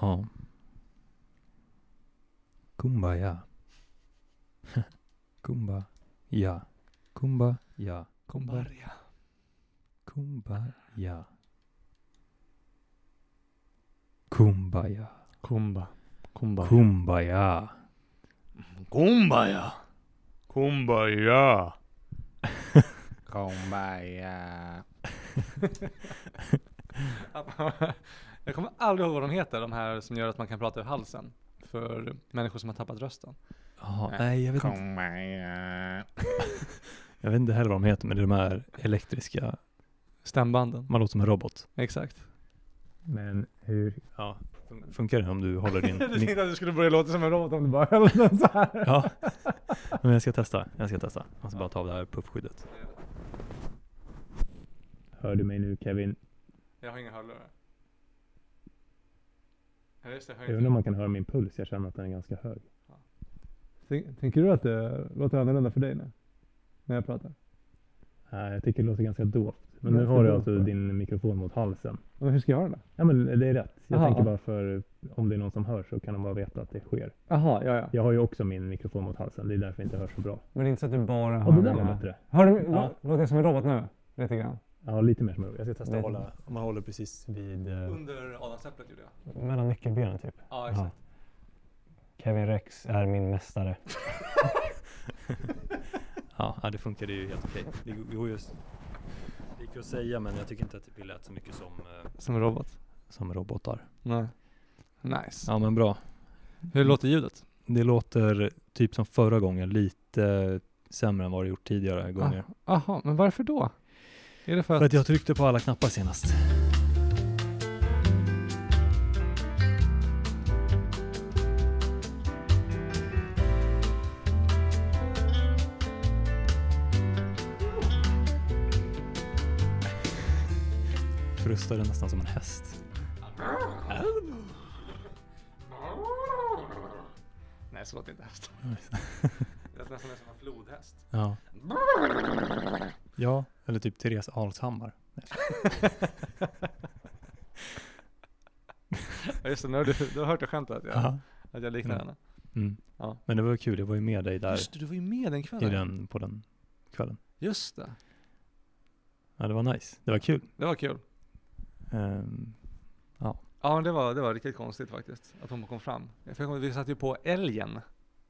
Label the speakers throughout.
Speaker 1: Ja. Kumbaya. Kumba. Ja. Kumba. Ja. Kumba.
Speaker 2: Barja.
Speaker 1: Kumbaya. Kumbaya.
Speaker 2: Kumba. Kumbaya.
Speaker 1: Kumbaya.
Speaker 2: Kumbaya. Kumbaya. Kumbaya. Att man- jag kommer aldrig ihåg vad de heter, de här som gör att man kan prata ur halsen. För människor som har tappat rösten.
Speaker 1: Ja,
Speaker 2: Nej.
Speaker 1: nej, jag vet, inte,
Speaker 2: Kumbaya.
Speaker 1: jag vet inte heller vad de heter, men det är de här elektriska.
Speaker 2: Stämbanden.
Speaker 1: Man låter som en robot.
Speaker 2: Exakt.
Speaker 1: Men hur? Ja. fun- Funkar det om du håller din...
Speaker 2: Du
Speaker 1: din
Speaker 2: tänkte att du skulle börja låta som en robot om du bara höll den så här.
Speaker 1: ja. Men jag ska testa. Jag ska testa. Jag ska bara ta av det här puffskyddet. Hör du mig nu Kevin?
Speaker 2: Jag har inga hörlurar. Ja, just det, jag har
Speaker 1: Jag
Speaker 2: inte-
Speaker 1: undrar om man kan höra min puls. Jag känner att den är ganska hög.
Speaker 2: Tänk- Tänker du att det låter annorlunda för dig nu? När jag pratar?
Speaker 1: Nej, jag tycker det låter ganska dovt. Men nu
Speaker 2: Ganska
Speaker 1: har du
Speaker 2: dovt,
Speaker 1: alltså
Speaker 2: va?
Speaker 1: din mikrofon mot halsen.
Speaker 2: Men hur ska jag göra det?
Speaker 1: Ja, men det är rätt. Jag
Speaker 2: Aha.
Speaker 1: tänker bara för om det är någon som hör så kan de bara veta att det sker.
Speaker 2: Jaha, ja, ja.
Speaker 1: Jag har ju också min mikrofon mot halsen. Det är därför jag inte hörs så bra.
Speaker 3: Men det är inte så att du bara
Speaker 1: Och
Speaker 3: hör
Speaker 1: det
Speaker 3: den
Speaker 1: där var
Speaker 3: här.
Speaker 1: bättre.
Speaker 3: Hör du,
Speaker 1: Ja.
Speaker 3: lå- låter jag som en robot nu? Lite grann.
Speaker 1: Ja, lite mer som jag Jag ska testa att
Speaker 3: Lite.
Speaker 1: hålla, om man håller precis vid... eh,
Speaker 2: Under adamsäpplet gjorde jag.
Speaker 3: Mellan nyckelbenen typ.
Speaker 2: Ja,
Speaker 3: Ja.
Speaker 2: exakt.
Speaker 3: Kevin Rex är min mästare.
Speaker 1: Ja, ja, det funkade ju helt okej. Det g- går just... Det gick ju att säga, men jag tycker inte att det lät så mycket som, eh,
Speaker 2: Som en robot.
Speaker 1: som robotar.
Speaker 2: Nej. Nice.
Speaker 1: Ja, men bra.
Speaker 2: Hur låter ljudet?
Speaker 1: Det låter typ som förra gången, lite sämre än vad det gjort tidigare gånger.
Speaker 2: Jaha, men varför då? Är det för att...
Speaker 1: För att jag tryckte på alla knappar senast. Frustade nästan som en häst.
Speaker 2: Nej, så låter inte häst. Det lät nästan som en flodhäst.
Speaker 1: Ja. ja, eller typ Therese Alshammar.
Speaker 2: Ja, just det. Nu har du, du har hört det skämtet att jag,
Speaker 1: Ja.
Speaker 2: att jag liknar
Speaker 1: Mm.
Speaker 2: henne.
Speaker 1: Mm.
Speaker 2: Ja.
Speaker 1: Men det var ju kul, jag var ju med dig där
Speaker 2: Just det, du var ju med den
Speaker 1: i
Speaker 2: kvällen.
Speaker 1: den, på den kvällen.
Speaker 2: Just det.
Speaker 1: Ja, det var nice. Det var kul.
Speaker 2: Det var kul.
Speaker 1: Ehm,
Speaker 2: Ja, men det var, det var riktigt konstigt faktiskt att hon kom fram. För jag kommer- vi satte ju på älgen,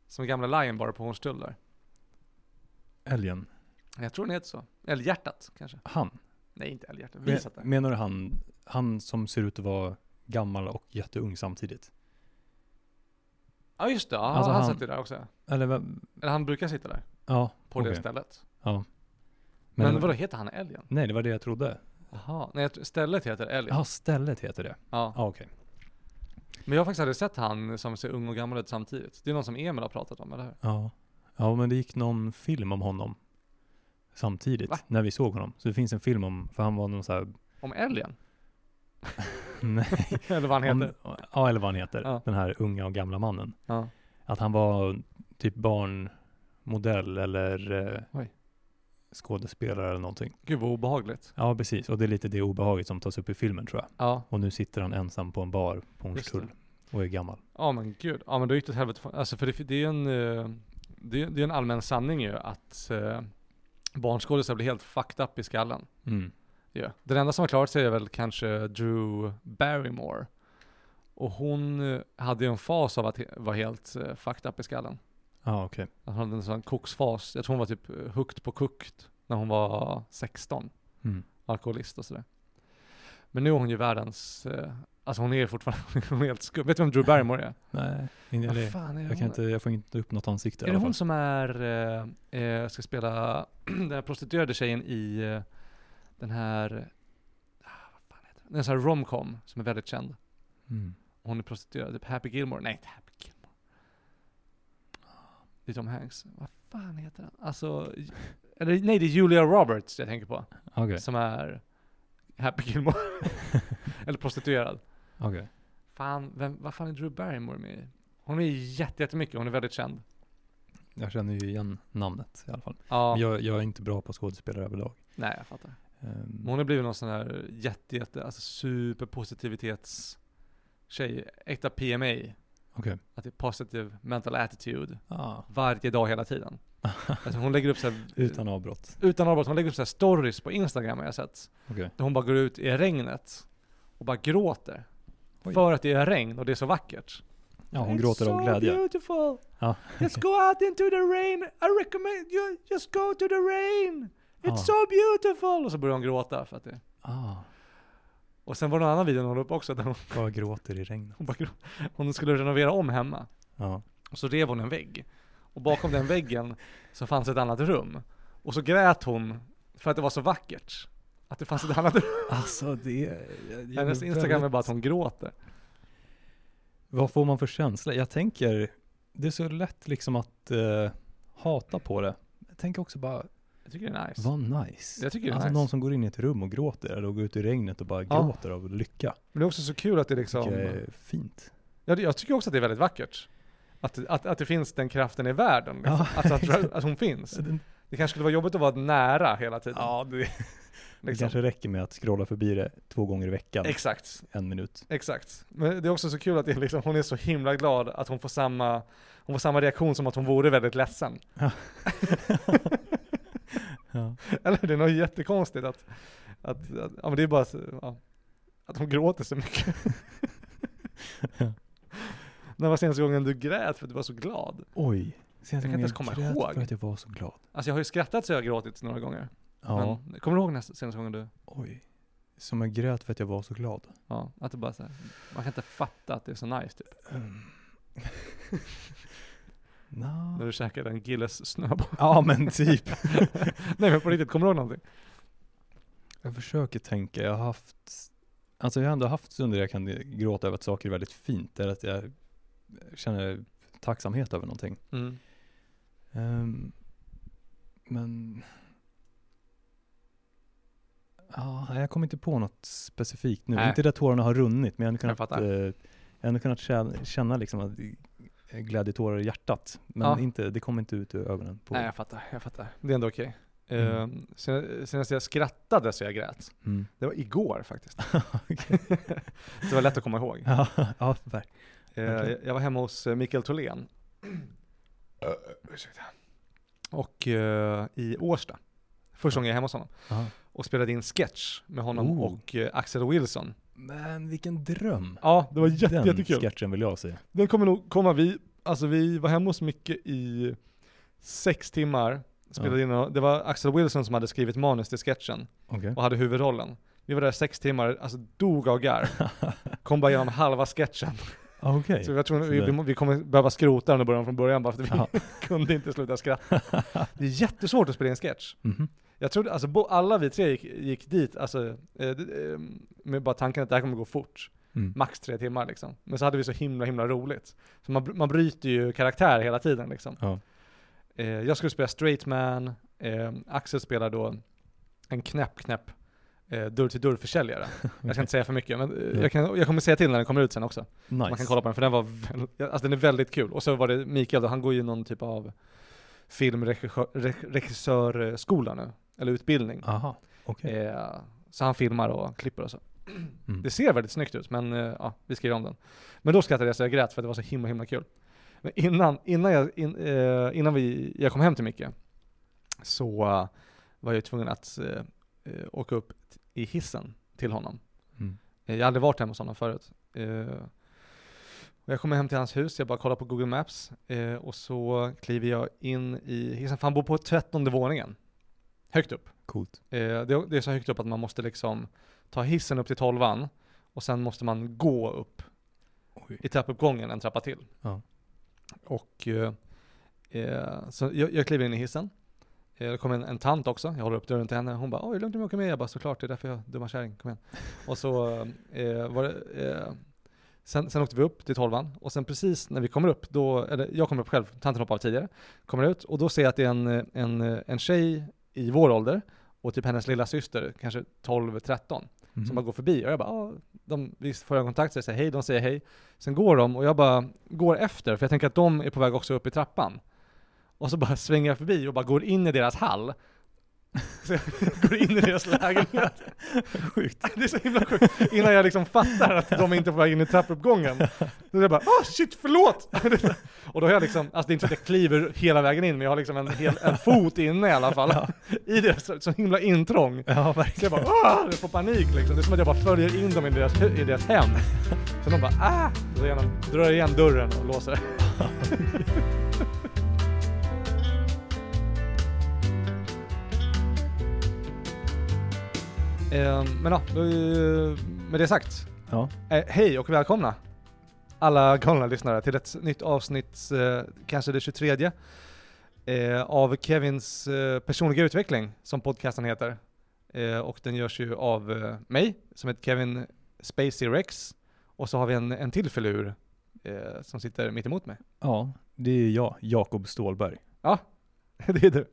Speaker 2: som gamla Lion Bar på Hornstull där.
Speaker 1: älgen,
Speaker 2: Jag tror den heter så. Älghjärtat kanske.
Speaker 1: han.
Speaker 2: Nej, inte älghjärtat. Vi
Speaker 1: Men,
Speaker 2: satt där.
Speaker 1: menar du han, han som ser ut att vara gammal och jätteung samtidigt?
Speaker 2: Ja, just det. Ja,
Speaker 1: Alltså,
Speaker 2: han,
Speaker 1: han-
Speaker 2: satt ju där också.
Speaker 1: Eller vem?
Speaker 2: Eller han brukar sitta där,
Speaker 1: Ja,
Speaker 2: på det
Speaker 1: okej.
Speaker 2: stället.
Speaker 1: Ja.
Speaker 2: Men,
Speaker 1: Men,
Speaker 2: vadå, Liksom. heter han älgen?
Speaker 1: Nej, det var det jag trodde.
Speaker 2: Jaha, nej jag tror- stället heter älgen.
Speaker 1: Ja, stället heter det.
Speaker 2: Ja.
Speaker 1: Ja, okej.
Speaker 2: Men jag har faktiskt aldrig sett han som ser ung och gammal ut samtidigt. Det är någon som Emil har pratat om, eller hur?
Speaker 1: Ja. ja, men det gick någon film om honom samtidigt
Speaker 2: Va?
Speaker 1: när vi såg honom. Så det finns en film om, för han var någon så här,
Speaker 2: Om älgen?
Speaker 1: nej,
Speaker 2: eller vad han
Speaker 1: om,
Speaker 2: heter.
Speaker 1: ja eller vad han heter,
Speaker 2: Ja.
Speaker 1: den här unga och gamla mannen.
Speaker 2: Ja.
Speaker 1: Att han var typ barnmodell eller eh,
Speaker 2: Oj.
Speaker 1: skådespelare eller någonting.
Speaker 2: Gud vad obehagligt.
Speaker 1: Ja, precis. Och det är lite det obehaget som tas upp i filmen tror jag.
Speaker 2: Ja.
Speaker 1: Och nu sitter han ensam på en bar på
Speaker 2: Just
Speaker 1: Hornstull och är gammal.
Speaker 2: Ja men gud, ja men då gick det åt helvete. för- Alltså för det, det är ju en, eh, det, är- det är en allmän sanning ju att eh, barnskådisar blir helt fucked up i skallen.
Speaker 1: Mm.
Speaker 2: Ja. Den enda som har klarat sig är väl kanske Drew Barrymore. Och hon eh, hade ju en fas av att he- vara helt eh, fucked up i skallen.
Speaker 1: Ja, okej.
Speaker 2: Att hon hade en sån koksfas. Jag tror hon var typ eh, hooked på kukt när hon var 16.
Speaker 1: Mm.
Speaker 2: Alkoholist och sådär. Men nu är hon ju världens, eh, alltså hon är fortfarande hon är helt skum. Vet du vem Drew Barrymore är?
Speaker 1: Nej, in- eller,
Speaker 2: fan är det
Speaker 1: jag, kan
Speaker 2: hon
Speaker 1: inte, jag får inte upp något ansikte i
Speaker 2: Är det
Speaker 1: alla
Speaker 2: hon
Speaker 1: fall.
Speaker 2: som är, eh, eh, ska spela den här prostituerade tjejen i eh, den här, ah, vad fan heter den? En sån här romcom som är väldigt känd.
Speaker 1: Mm.
Speaker 2: Hon är prostituerad, typ Happy Gilmore. Nej, inte Happy Gilmore. Det är Tom Hanks. Vad fan heter han? Alltså, j- eller nej det är Julia Roberts jag tänker på.
Speaker 1: Okej,
Speaker 2: Som är Happy Gilmore. eller prostituerad.
Speaker 1: okej.
Speaker 2: Fan, vem, vad fan är Drew Barrymore med i? Hon är jätte- jättemycket, hon är väldigt känd.
Speaker 1: Jag känner ju igen namnet i alla fall.
Speaker 2: Ja,
Speaker 1: Men jag, jag är inte bra på skådespelare överlag.
Speaker 2: nej jag fattar.
Speaker 1: Ehm,
Speaker 2: Men Hon har blivit någon sån här jätte, jätte, alltså superpositivitets tjej, äkta PMA,
Speaker 1: Okej.
Speaker 2: att det är positive mental attitude
Speaker 1: Ah.
Speaker 2: varje dag hela tiden. alltså hon lägger upp så här,
Speaker 1: Utan avbrott.
Speaker 2: utan avbrott, hon lägger upp så här stories på Instagram har jag sett.
Speaker 1: Okej.
Speaker 2: Där hon bara går ut i regnet och bara gråter.
Speaker 1: Oj.
Speaker 2: För att det är regn och det är så vackert.
Speaker 1: Ja, hon
Speaker 2: It's
Speaker 1: gråter av
Speaker 2: so
Speaker 1: glädje.
Speaker 2: beautiful.
Speaker 1: Ja.
Speaker 2: Just go out into the rain. I recommend you just go to the rain. It's
Speaker 1: Ja.
Speaker 2: so beautiful. Och så börjar hon gråta för att det.
Speaker 1: Ah.
Speaker 2: Och sen var det en annan video hon la upp också där hon,
Speaker 1: Bara gråter i regnet.
Speaker 2: hon, bara, grå- hon skulle renovera om hemma.
Speaker 1: Ja.
Speaker 2: Och så rev hon en vägg. Och bakom den väggen så fanns ett annat rum. Och så grät hon för att det var så vackert. Att det fanns ett annat rum.
Speaker 1: Alltså det... jag- jag
Speaker 2: Hennes
Speaker 1: blir
Speaker 2: Instagram är
Speaker 1: väldigt-
Speaker 2: bara att hon gråter.
Speaker 1: Vad får man för känsla? Jag tänker, det är så lätt liksom att eh, hata på det. Jag tänker också bara,
Speaker 2: Jag tycker det är nice.
Speaker 1: vad nice.
Speaker 2: Jag tycker det är
Speaker 1: alltså
Speaker 2: nice.
Speaker 1: någon som går in i ett rum och gråter, eller går ut i regnet och bara
Speaker 2: Ja.
Speaker 1: gråter av lycka.
Speaker 2: Men det är också så kul att det
Speaker 1: Det
Speaker 2: liksom...
Speaker 1: tycker jag är fint.
Speaker 2: Ja, det- jag tycker också att det är väldigt vackert. Att, att, att det finns den kraften i världen. Liksom.
Speaker 1: Ja,
Speaker 2: Att, att,
Speaker 1: exakt.
Speaker 2: att hon finns.
Speaker 1: Den,
Speaker 2: Det kanske skulle vara jobbigt att vara nära hela tiden.
Speaker 1: det,
Speaker 2: liksom.
Speaker 1: kanske räcker med att scrolla förbi det två gånger i veckan,
Speaker 2: Exakt,
Speaker 1: en minut.
Speaker 2: exakt. Men det är också så kul att det är liksom, hon är så himla glad att hon får samma, hon får samma reaktion som att hon vore väldigt ledsen.
Speaker 1: Ja.
Speaker 2: Eller det är något jättekonstigt att, att, att ja, men det är bara så- ja, att hon gråter så mycket. När var senaste gången du grät för att du var så glad?
Speaker 1: Oj.
Speaker 2: Jag
Speaker 1: Senaste
Speaker 2: kan inte ens
Speaker 1: gången
Speaker 2: komma ihåg.
Speaker 1: för att jag var så glad.
Speaker 2: Alltså jag har ju skrattat så jag har gråtit några gånger.
Speaker 1: Ja,
Speaker 2: Men, kommer du ihåg nästa, senaste gången du
Speaker 1: oj. Som jag grät för att jag var så glad.
Speaker 2: Ja, att det bara så här, man kan inte fatta att det är så nice typ.
Speaker 1: Um. Nå.
Speaker 2: När du käkade en gilles snöboll.
Speaker 1: Ja men typ.
Speaker 2: Nej men på riktigt, kommer du ihåg någonting?
Speaker 1: Jag försöker tänka, jag har haft, alltså jag har ändå haft stunder där jag kan gråta över att saker är väldigt fint, eller att jag känner tacksamhet över någonting. Ehm, men... Ja, nej, jag kommer inte på något specifikt nu.
Speaker 2: Nej.
Speaker 1: Inte där tårarna har runnit, men jag har ändå
Speaker 2: Jag
Speaker 1: kunnat,
Speaker 2: fattar.
Speaker 1: eh, jag har ändå kunnat känna, känna liksom att eh, glädjetårar i hjärtat. Men
Speaker 2: Ja.
Speaker 1: inte, det kommer inte ut ur ögonen. På.
Speaker 2: Nej jag fattar, jag fattar. Det är ändå okej.
Speaker 1: Mm.
Speaker 2: Ehm, sen- Senast jag skrattade så jag grät,
Speaker 1: Mm.
Speaker 2: det var igår faktiskt. så det var lätt att komma ihåg.
Speaker 1: ja, ja, verkligen.
Speaker 2: Eh,
Speaker 1: Verkligen.
Speaker 2: jag var hemma hos eh, Mikael Tholén. Ursäkta. Och eh, i Årsta. Första gången jag är hemma hos honom. Och spelade in sketch med honom
Speaker 1: Oh.
Speaker 2: och eh, Axel Wilson.
Speaker 1: Men vilken dröm!
Speaker 2: Ja, det var jätte,
Speaker 1: Den
Speaker 2: jättekul.
Speaker 1: sketchen vill jag se.
Speaker 2: Den kommer nog komma, vi, alltså vi var hemma hos Micke i sex timmar, spelade
Speaker 1: Ja.
Speaker 2: in, och- det var Axel Wilson som hade skrivit manus till sketchen
Speaker 1: Okej.
Speaker 2: och hade huvudrollen. Vi var där sex timmar, alltså dog av garv. Kom bara igenom halva sketchen.
Speaker 1: Okej.
Speaker 2: Så jag tror
Speaker 1: Så
Speaker 2: vi,
Speaker 1: det-
Speaker 2: vi, vi kommer behöva skrota den och börja om från början bara för att vi
Speaker 1: Ja.
Speaker 2: kunde inte sluta skratta. Det är jättesvårt att spela in sketch.
Speaker 1: Mhm.
Speaker 2: Jag trodde, alltså bo, alla vi tre gick, gick dit, alltså eh, det- eh, med bara tanken att det här kommer gå fort
Speaker 1: Mm.
Speaker 2: max tre timmar liksom. Men så hade vi så himla himla roligt. Så man, br- man bryter ju karaktär hela tiden liksom.
Speaker 1: Ja.
Speaker 2: Eh, jag skulle spela straight man, eh, Axel spelar då en knäpp knäpp eh, dörr till dörr försäljare. Jag ska inte säga för mycket, men eh,
Speaker 1: Nej.
Speaker 2: jag, kan, jag kommer säga till när den kommer ut sen också.
Speaker 1: Nice.
Speaker 2: Man kan kolla på den, för den var väl, ja, alltså den är väldigt kul. Och så var det Mikael då, han går ju någon typ av filmregissörskola nu, eller utbildning.
Speaker 1: Aha, okej.
Speaker 2: Eh, så han filmar och klipper och så.
Speaker 1: Mm.
Speaker 2: Eh, Det ser väldigt snyggt ut, men eh, ja, vi skriver om den. Men då skrattade jag så jag grät för att det var så himla himla kul. Men innan, innan, jag, in, eh, innan vi, jag kom hem till Micke så eh, var jag ju tvungen att eh, eh, åka upp t- i hissen till honom.
Speaker 1: Mm.
Speaker 2: Eh, jag har aldrig varit hemma hos honom förut. Eh, och jag kommer hem till hans hus, jag bara kollar på Google Maps eh, och så kliver jag in i hissen, för han bor på trettonde våningen. Högt upp.
Speaker 1: Coolt.
Speaker 2: Eh, det, det är så högt upp att man måste liksom ta hissen upp till tolvan och sen måste man gå upp
Speaker 1: Oj.
Speaker 2: i trappuppgången en trappa till.
Speaker 1: Ja.
Speaker 2: Och eh, eh, så jag, jag kliver in i hissen. Eh, Det kom en, en tant också, jag håller upp dörren till henne. Hon bara ”Oj, är det lugnt om jag åker med?” Jag bara ”Såklart, det är därför jag dumma kärring, kom igen”. Och så eh, var det, eh, sen, sen åkte vi upp till tolvan och sen precis när vi kommer upp, då, eller jag kommer upp själv, tanten hoppade av tidigare, kommer ut och då ser jag att det är en, eh, en, eh, en tjej i vår ålder och typ hennes lilla syster, kanske 12-13 som
Speaker 1: Mm.
Speaker 2: bara går förbi och jag bara, ah, de, vi får ögonkontakt, så jag säger hej, de säger hej. Sen går de och jag bara går efter, för jag tänker att de är på väg också upp i trappan. Och så bara svänger jag förbi och bara går in i deras hall Så jag går in i deras lägenhet.
Speaker 1: Sjukt.
Speaker 2: Det är så himla sjukt. Innan jag liksom fattar att de är inte är på väg in i trappuppgången. Så jag bara ah shit förlåt! Och då har jag liksom, alltså det är inte så att jag kliver hela vägen in men jag har liksom en, hel, en fot inne i alla fall. I deras, så, så himla intrång.
Speaker 1: Ja,
Speaker 2: Så jag
Speaker 1: verkligen.
Speaker 2: bara ah! Jag får panik liksom. Det är som att jag bara följer in dem i deras, hu- i deras hem. Så de bara ah! Då är de- drar igen dörren och låser. Ehm, Men ja, då, eh, med det sagt.
Speaker 1: Ja.
Speaker 2: Eh, hej och välkomna alla galna lyssnare till ett nytt avsnitt, eh, kanske det 23 eh, av Kevins eh, personliga utveckling som podcasten heter. Eh, och den görs ju av eh, mig som heter Kevin Spacey Rex och så har vi en, en till filur eh, som sitter mitt emot mig.
Speaker 1: ja, det är jag, Jakob Ståhlberg.
Speaker 2: det är du.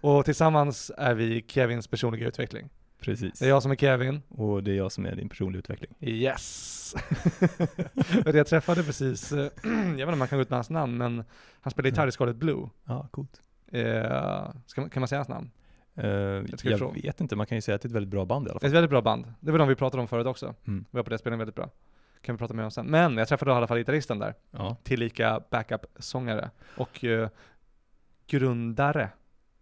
Speaker 2: Och tillsammans är vi Kevins personliga utveckling.
Speaker 1: Precis.
Speaker 2: Det är jag som är Kevin.
Speaker 1: Och det är jag som är din personliga utveckling.
Speaker 2: Yes! För jag träffade precis, eh, jag vet inte om man kan gå ut med hans namn, men han spelade
Speaker 1: Mm.
Speaker 2: gitarr i Scarlet Blue.
Speaker 1: Ja, coolt.
Speaker 2: Eh, ska man, kan man säga hans namn?
Speaker 1: Eh, jag
Speaker 2: ska ifrån.
Speaker 1: vet inte, man kan ju säga att det är ett väldigt bra band i alla
Speaker 2: Det är
Speaker 1: fall.
Speaker 2: ett väldigt bra band. Det var de vi pratade om förut också.
Speaker 1: Mm.
Speaker 2: Vi var på det spelningen väldigt bra. Kan vi prata mer om sen. Men jag träffade i alla fall gitarristen där,
Speaker 1: Ja,
Speaker 2: tillika backup-sångare och eh, grundare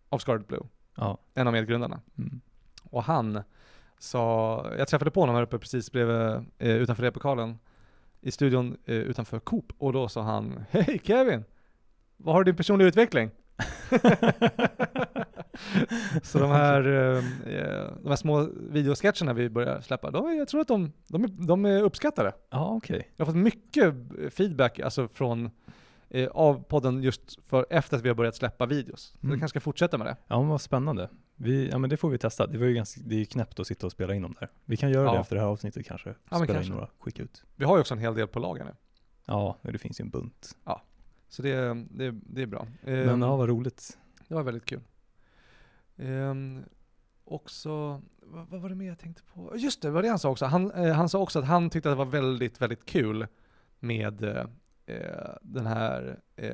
Speaker 2: av Scarlet Blue.
Speaker 1: ja.
Speaker 2: En av medgrundarna.
Speaker 1: Mm.
Speaker 2: Och han sa, jag träffade på honom här uppe precis bredvid, eh, utanför replokalen i studion eh, utanför Coop och då sa han Hej Kevin! Vad har du din personliga utveckling? Så de här, eh, eh, de här små videosketcherna vi börjar släppa, de, jag tror att de, de, är, de är uppskattade.
Speaker 1: ja okej.
Speaker 2: Jag har fått mycket feedback alltså från, eh, av podden just för, efter att vi har börjat släppa videos. Så
Speaker 1: Mm.
Speaker 2: jag kanske ska fortsätta med det.
Speaker 1: Ja, men vad spännande. Vi, ja, men det får vi testa. Det, var ju ganska, det är ju knäppt att sitta och spela in dem där. Vi kan göra
Speaker 2: Ja.
Speaker 1: det efter det här avsnittet kanske.
Speaker 2: men
Speaker 1: spela
Speaker 2: kanske.
Speaker 1: in några, skicka ut.
Speaker 2: Vi har ju också en hel del på lager nu,
Speaker 1: Ja, det finns ju en bunt.
Speaker 2: så det, det, det är bra.
Speaker 1: Men
Speaker 2: Ehm,
Speaker 1: ja, vad roligt.
Speaker 2: Det var väldigt kul. Ehm, också, vad, vad var det mer jag tänkte på? Just det, det var det han sa också. Han, eh, han sa också att han tyckte att det var väldigt, väldigt kul med eh, eh, den här, eh,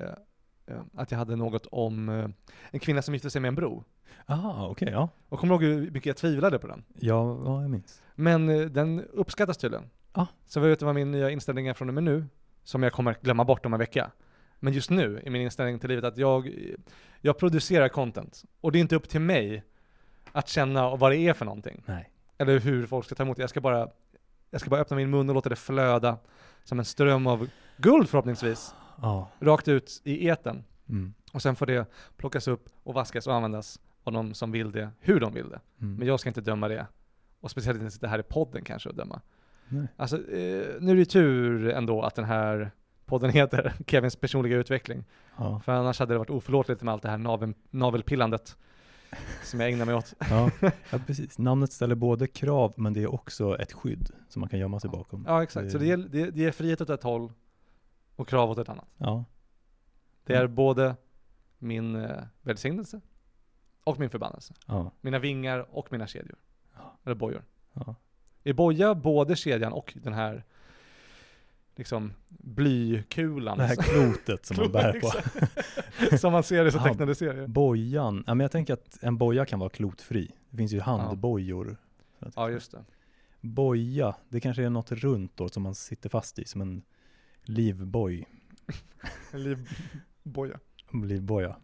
Speaker 2: eh, att jag hade något om eh, en kvinna som gifte sig med en bro.
Speaker 1: Ah, okej, ja.
Speaker 2: Och kommer du ihåg hur mycket jag tvivlade på den?
Speaker 1: ja. Ja, jag minns.
Speaker 2: Men eh, den uppskattas tydligen.
Speaker 1: Ja.
Speaker 2: Så vet du vad min nya inställning är från och med nu? Som jag kommer att glömma bort om en vecka. Men just nu är min inställning till livet att jag, jag producerar content. Och det är inte upp till mig att känna vad det är för någonting.
Speaker 1: Nej.
Speaker 2: Eller hur folk ska ta emot det. Jag ska bara, jag ska bara öppna min mun och låta det flöda som en ström av guld förhoppningsvis.
Speaker 1: Ja.
Speaker 2: Rakt ut i etern.
Speaker 1: Mm.
Speaker 2: Och sen får det plockas upp och vaskas och användas av de som vill det, hur de vill det.
Speaker 1: Mm.
Speaker 2: Men jag ska inte döma det. Och speciellt inte sitta här i podden kanske och döma.
Speaker 1: Nej.
Speaker 2: Alltså, eh, nu är det ju tur ändå att den här podden heter Kevins personliga utveckling.
Speaker 1: Ja.
Speaker 2: För annars hade det varit oförlåtligt med allt det här navel, navelpillandet som jag ägnar mig åt.
Speaker 1: Ja. ja, precis. Namnet ställer både krav, men det är också ett skydd som man kan gömma sig bakom.
Speaker 2: Ja, exakt. Så det ger, det, det ger frihet åt ett håll och krav åt ett annat.
Speaker 1: Ja.
Speaker 2: Det är
Speaker 1: Mm.
Speaker 2: både min eh, välsignelse och min förbannelse.
Speaker 1: Ja.
Speaker 2: Mina vingar och mina kedjor.
Speaker 1: Ja.
Speaker 2: Eller bojor.
Speaker 1: Ja.
Speaker 2: Är boja både kedjan och den här liksom blykulan
Speaker 1: Det här klotet som man bär på.
Speaker 2: Exakt. som man ser i så
Speaker 1: Ja.
Speaker 2: tecknade serier?
Speaker 1: Bojan. Ja, men jag tänker att en boja kan vara klotfri. Det finns ju handbojor.
Speaker 2: Ja, just det.
Speaker 1: Boja, det kanske är något runt då som man sitter fast i, som en livboj.
Speaker 2: En livboja.
Speaker 1: Livboja.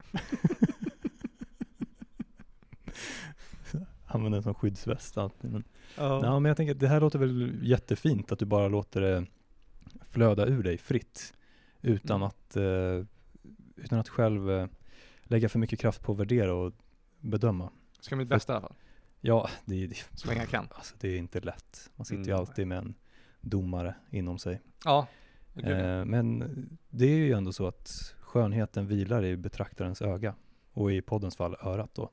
Speaker 1: Använder den som skyddsväst alltid. Men,
Speaker 2: Ja.
Speaker 1: ja, men jag tänker att det här låter väl jättefint att du bara låter det flöda ur dig fritt. Utan,
Speaker 2: Mm.
Speaker 1: att, eh, utan att själv eh, lägga för mycket kraft på att värdera och bedöma.
Speaker 2: Ska mitt bästa i alla fall.
Speaker 1: Ja, det, är- det,
Speaker 2: Så länge jag kan.
Speaker 1: alltså, det är inte lätt. Man sitter ju
Speaker 2: Mm.
Speaker 1: alltid med en domare inom sig.
Speaker 2: Ja. Gud, ja.
Speaker 1: Eh, men det är ju ändå så att skönheten vilar i betraktarens öga och i poddens fall örat då.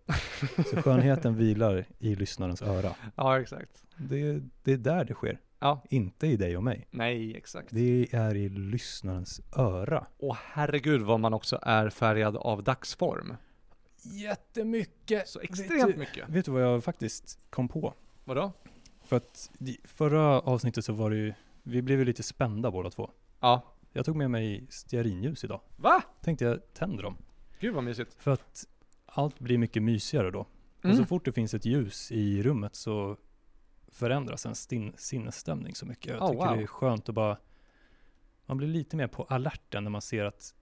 Speaker 1: Så skönheten vilar i lyssnarens öra.
Speaker 2: ja, exakt.
Speaker 1: Det, det är där det sker,
Speaker 2: Ja.
Speaker 1: inte i dig och mig.
Speaker 2: Nej, exakt.
Speaker 1: Det är i lyssnarens öra.
Speaker 2: Och herregud vad man också är färgad av dagsform.
Speaker 1: Jättemycket!
Speaker 2: Så
Speaker 1: Vet
Speaker 2: extremt
Speaker 1: du,
Speaker 2: mycket.
Speaker 1: vet du vad jag faktiskt kom på?
Speaker 2: Vadå?
Speaker 1: För att i förra avsnittet så var det ju, vi blev ju lite spända båda två.
Speaker 2: Ja.
Speaker 1: Jag tog med mig stearinljus idag.
Speaker 2: Va?
Speaker 1: Tänkte jag tänder dem.
Speaker 2: Gud vad mysigt.
Speaker 1: För att allt blir mycket mysigare då.
Speaker 2: Mm.
Speaker 1: Och så fort det finns ett ljus i rummet så förändras ens sin- sinnesstämning så mycket. Jag
Speaker 2: Oh,
Speaker 1: tycker det
Speaker 2: wow.
Speaker 1: är skönt att bara... Man blir lite mer på alerten när man ser att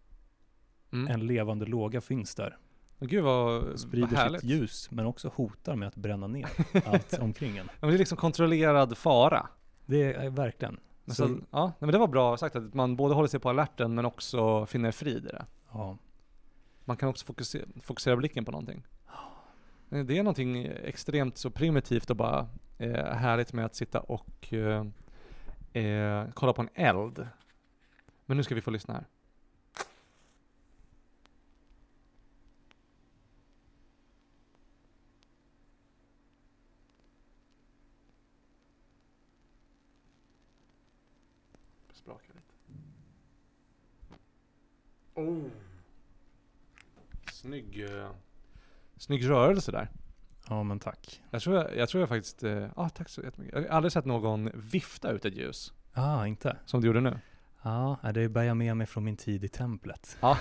Speaker 2: Mm.
Speaker 1: en levande låga finns där.
Speaker 2: Gud vad,
Speaker 1: Och
Speaker 2: vad
Speaker 1: sprider
Speaker 2: härligt.
Speaker 1: sitt ljus, men också hotar med att bränna ner allt omkring en.
Speaker 2: Ja, men det är liksom kontrollerad fara.
Speaker 1: Det är eh, verkligen.
Speaker 2: Men
Speaker 1: Så-
Speaker 2: sen- ja, nej, men det var bra sagt att man både håller sig på alerten men också finner frid i det.
Speaker 1: Ja.
Speaker 2: Man kan också fokusera, fokusera blicken på någonting. Eh, Det är någonting extremt så primitivt och bara eh, härligt med att sitta och eh, eh, kolla på en eld. Men nu ska vi få lyssna här. Sprakar lite. Oh. Snygg, eh, snygg rörelse där.
Speaker 1: ja, men tack.
Speaker 2: Jag tror jag, jag, tror jag faktiskt... eh, ah, tack så jättemycket. Jag har aldrig sett någon vifta ut ett ljus
Speaker 1: Ah, inte?
Speaker 2: som du gjorde nu.
Speaker 1: Ja, ah, det bär jag med mig från min tid i templet.
Speaker 2: Ja.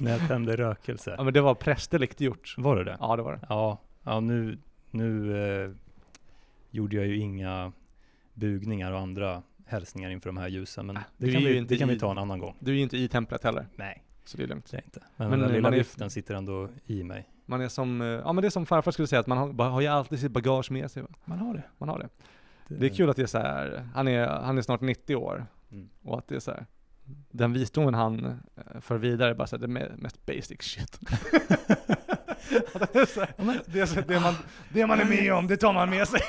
Speaker 1: När jag tände rökelse.
Speaker 2: Ja, men det var prästerligt gjort.
Speaker 1: Var det det?
Speaker 2: Ja, det var det.
Speaker 1: Ja, ja nu, nu eh, gjorde jag ju inga bugningar och andra hälsningar inför de här ljusen, men
Speaker 2: Ah, du
Speaker 1: det,
Speaker 2: är
Speaker 1: kan
Speaker 2: ju
Speaker 1: vi,
Speaker 2: inte
Speaker 1: det kan
Speaker 2: i-
Speaker 1: vi ta en annan gång.
Speaker 2: Du är ju inte i templet heller,
Speaker 1: Nej,
Speaker 2: så det är lugnt.
Speaker 1: det är jag inte. Men,
Speaker 2: Men
Speaker 1: den
Speaker 2: man
Speaker 1: där lilla
Speaker 2: är-
Speaker 1: viften sitter ändå i mig.
Speaker 2: Man är som... eh, ja, men det är som farfar skulle säga, att man har, bara, har ju alltid sitt bagage med sig. va?
Speaker 1: Man har det.
Speaker 2: Man har det. Det är kul att det är så här, han är, han är snart 90 år
Speaker 1: Mm.
Speaker 2: och att det är så här, den visdomen han eh, för vidare är bara så här, det me- mest basic shit. Att det, är så här, det, är så, det, man, det man är med om, det tar man med sig.